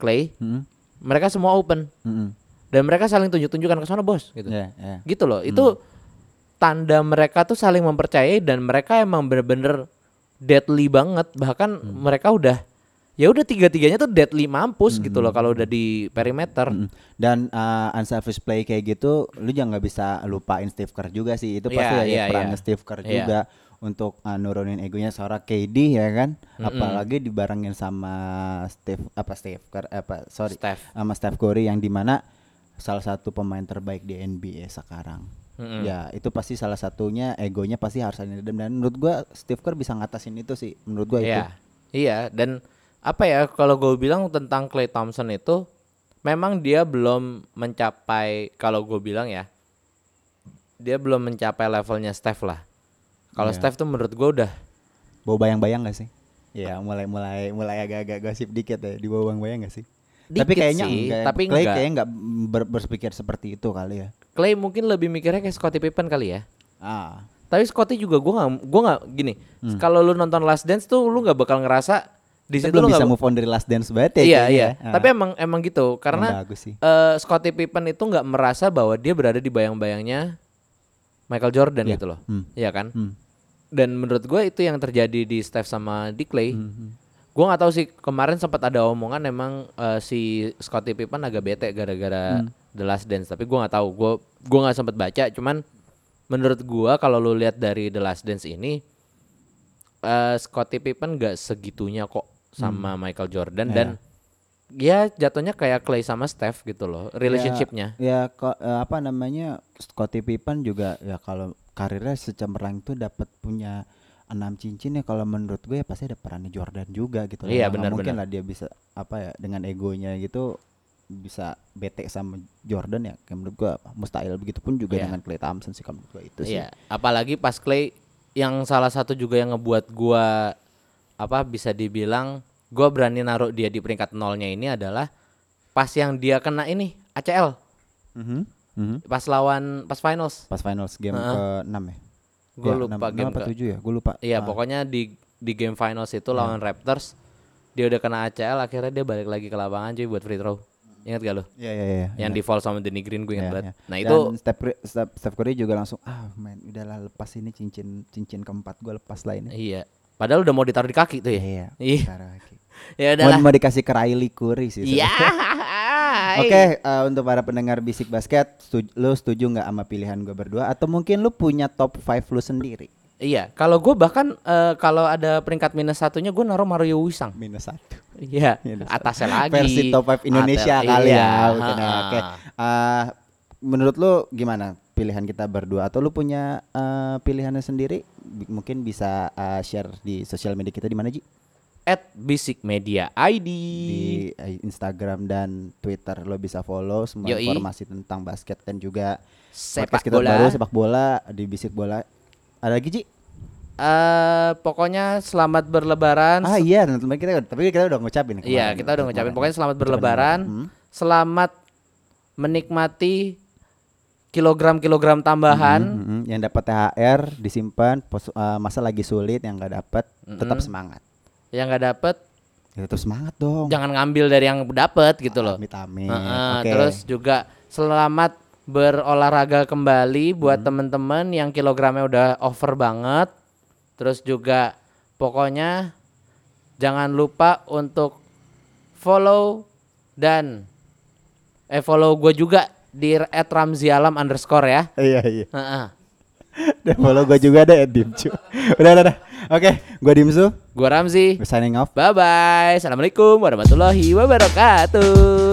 S1: Clay,
S2: Mm-mm.
S1: mereka semua open
S2: Mm-mm.
S1: dan mereka saling tunjuk-tunjukkan ke sana bos gitu
S2: Ya, ya.
S1: gitu loh itu tanda mereka tuh saling
S2: Hmm.
S1: mempercayai dan mereka emang bener-bener deadly banget bahkan mereka udah ya udah tiga-tiganya tuh deadly
S2: Hmm.
S1: mampus gitu loh kalau udah di perimeter.
S2: Mm. Dan uh, unselfish play kayak gitu, lu jangan nggak bisa lupain Steve Kerr juga sih. Itu pasti
S1: Iya,
S2: ada
S1: iya,
S2: perannya
S1: iya.
S2: Steve Kerr
S1: Iya.
S2: juga untuk uh, nurunin egonya seorang KD ya kan. Apalagi dibarengin sama Steve apa Steve Kerr apa sorry
S1: Steph.
S2: sama Steph Curry yang dimana salah satu pemain terbaik di NBA sekarang.
S1: Mm-mm.
S2: Ya itu pasti salah satunya egonya pasti harus ada di dalam. Dan menurut gua Steve Kerr bisa ngatasin itu sih. Menurut gua itu.
S1: Iya, iya. Dan apa ya kalau gue bilang tentang Clay Thompson itu, memang dia belum mencapai kalau gue bilang ya, dia belum mencapai levelnya Steph lah. Kalau
S2: Iya.
S1: Steph tuh menurut gue udah
S2: Bawa bayang-bayang gak sih? Ya mulai mulai mulai agak-agak gosip dikit ya di bawah bayang-bayang gak sih? tapi
S1: Dikit
S2: kayaknya
S1: sih,
S2: enggak. ya.
S1: tapi
S2: Clay
S1: enggak.
S2: kayaknya enggak ber- berpikir seperti itu kali ya.
S1: Clay mungkin lebih mikirnya kayak Scottie Pippen kali ya.
S2: Ah,
S1: Tapi Scottie juga gue gak, gua nggak gini.
S2: Hmm.
S1: Kalau lu nonton Last Dance tuh lu nggak bakal ngerasa di
S2: itu
S1: situ lu
S2: belum bisa
S1: nggak-
S2: move on dari last dance banget ya.
S1: Iya
S2: kayaknya
S1: iya.
S2: ya.
S1: Tapi
S2: Ah,
S1: emang emang gitu karena
S2: emang bagus sih.
S1: eh Scottie Pippen itu nggak merasa bahwa dia berada di bayang-bayangnya Michael Jordan gitu loh.
S2: Hmm.
S1: Iya kan?
S2: Hmm.
S1: Dan menurut gue itu yang terjadi di Steph sama di Clay. Gue nggak tahu sih kemarin sempat ada omongan emang eh, si Scottie Pippen agak bete gara-gara The Last Dance. Tapi gue nggak tahu. Gue gue nggak sempat baca. Cuman menurut gue kalau lu lihat dari The Last Dance ini, eh Scottie Pippen nggak segitunya kok sama Michael Jordan dan ya jatuhnya kayak Clay sama Steph gitu loh relationshipnya.
S2: Ya, ya ko- eh, apa namanya Scottie Pippen juga ya kalau karirnya secemerlang itu dapat punya enam cincin ya kalau menurut gue ya pasti ada perannya Jordan juga gitu loh.
S1: Iya,
S2: Nggak
S1: benar,
S2: mungkin
S1: benar.
S2: lah dia bisa apa ya dengan egonya gitu bisa bete sama Jordan ya kayak menurut gue mustahil begitu pun juga
S1: Iya.
S2: dengan Clay Thompson sih kalau menurut gue itu Gitu sih
S1: Iya, apalagi pas Clay yang salah satu juga yang ngebuat gua apa bisa dibilang gua berani naruh dia di peringkat nolnya ini adalah pas yang dia kena ini ACL
S2: Mhm, mhm.
S1: pas lawan pas finals.
S2: pas finals game
S1: Heeh.
S2: ke 6 ya
S1: Gue
S2: Ya,
S1: lupa
S2: enam- enam
S1: game
S2: apa
S1: ke-
S2: 7 ya gue lupa
S1: Iya,
S2: Ah, Iya.
S1: pokoknya di di game finals itu lawan Raptors dia udah kena ACL akhirnya dia balik lagi ke lapangan cuy buat free throw. Ingat gak lo?
S2: iya iya iya
S1: Yang di foul sama Danny Green gue ingat
S2: Iya,
S1: banget.
S2: iya.
S1: Nah,
S2: Dan
S1: itu
S2: Steph Curry, Steph, Steph Curry juga langsung ah main udahlah lepas ini cincin cincin keempat gue lepas lah ini.
S1: iya. Padahal udah mau ditaruh di kaki tuh ya.
S2: Iya.
S1: Ih,
S2: taruh lagi.
S1: ya
S2: Mau,
S1: udahlah.
S2: mau dikasih ke Riley Curry sih.
S1: Iya.
S2: sebenarnya. Oke, eh, untuk para pendengar bisik basket, setuju, lu setuju nggak sama pilihan gue berdua atau mungkin lu punya top 5 lu sendiri?
S1: Iya, kalau gue bahkan eh, kalau ada peringkat minus satunya gue naruh Mario Wisang.
S2: Minus satu.
S1: Iya,
S2: Minus
S1: atasnya lagi.
S2: Versi top 5 Indonesia
S1: Atas-
S2: kali
S1: iya,
S2: ya. mungkin ya.
S1: ha-ha.
S2: Oke. Eh, menurut lu gimana pilihan kita berdua atau lu punya eh, pilihannya sendiri? Bi- mungkin bisa eh, share di sosial media kita di mana Ji?
S1: At Basic Media ID.
S2: di eh, Instagram dan Twitter lo bisa follow semua
S1: Yoi.
S2: informasi tentang basket dan juga
S1: sepak
S2: podcast kita
S1: bola.
S2: baru sepak bola di bisik bola ada lagi Ji?
S1: Eh, pokoknya selamat berlebaran.
S2: Ah iya dan teman kita tapi kita udah ngucapin kemarin.
S1: Kan Iya, kita udah ngucapin
S2: Kemarin.
S1: pokoknya selamat berlebaran.
S2: kemarin. Hmm.
S1: Selamat menikmati kilogram-kilogram
S2: Mm,
S1: tambahan.
S2: mm, mm. yang dapat THR disimpan pos- eh, masa lagi sulit yang nggak dapat tetap semangat
S1: Yang nggak dapet
S2: ya, tetap semangat dong
S1: jangan ngambil dari yang dapet gitu loh.
S2: amit amit
S1: Heeh,
S2: Iya, oke
S1: Terus juga selamat berolahraga kembali buat temen-temen yang kilogramnya udah over banget. Terus juga pokoknya jangan lupa untuk follow dan eh follow gue juga di @ramzialam underscore ya.
S2: iya iya
S1: Heeh.
S2: dan follow gue juga ada at Dimsu udah udah, udah. oke gue Dimsu
S1: Gue Ramzi.
S2: signing off
S1: Bye bye. Assalamualaikum warahmatullahi wabarakatuh.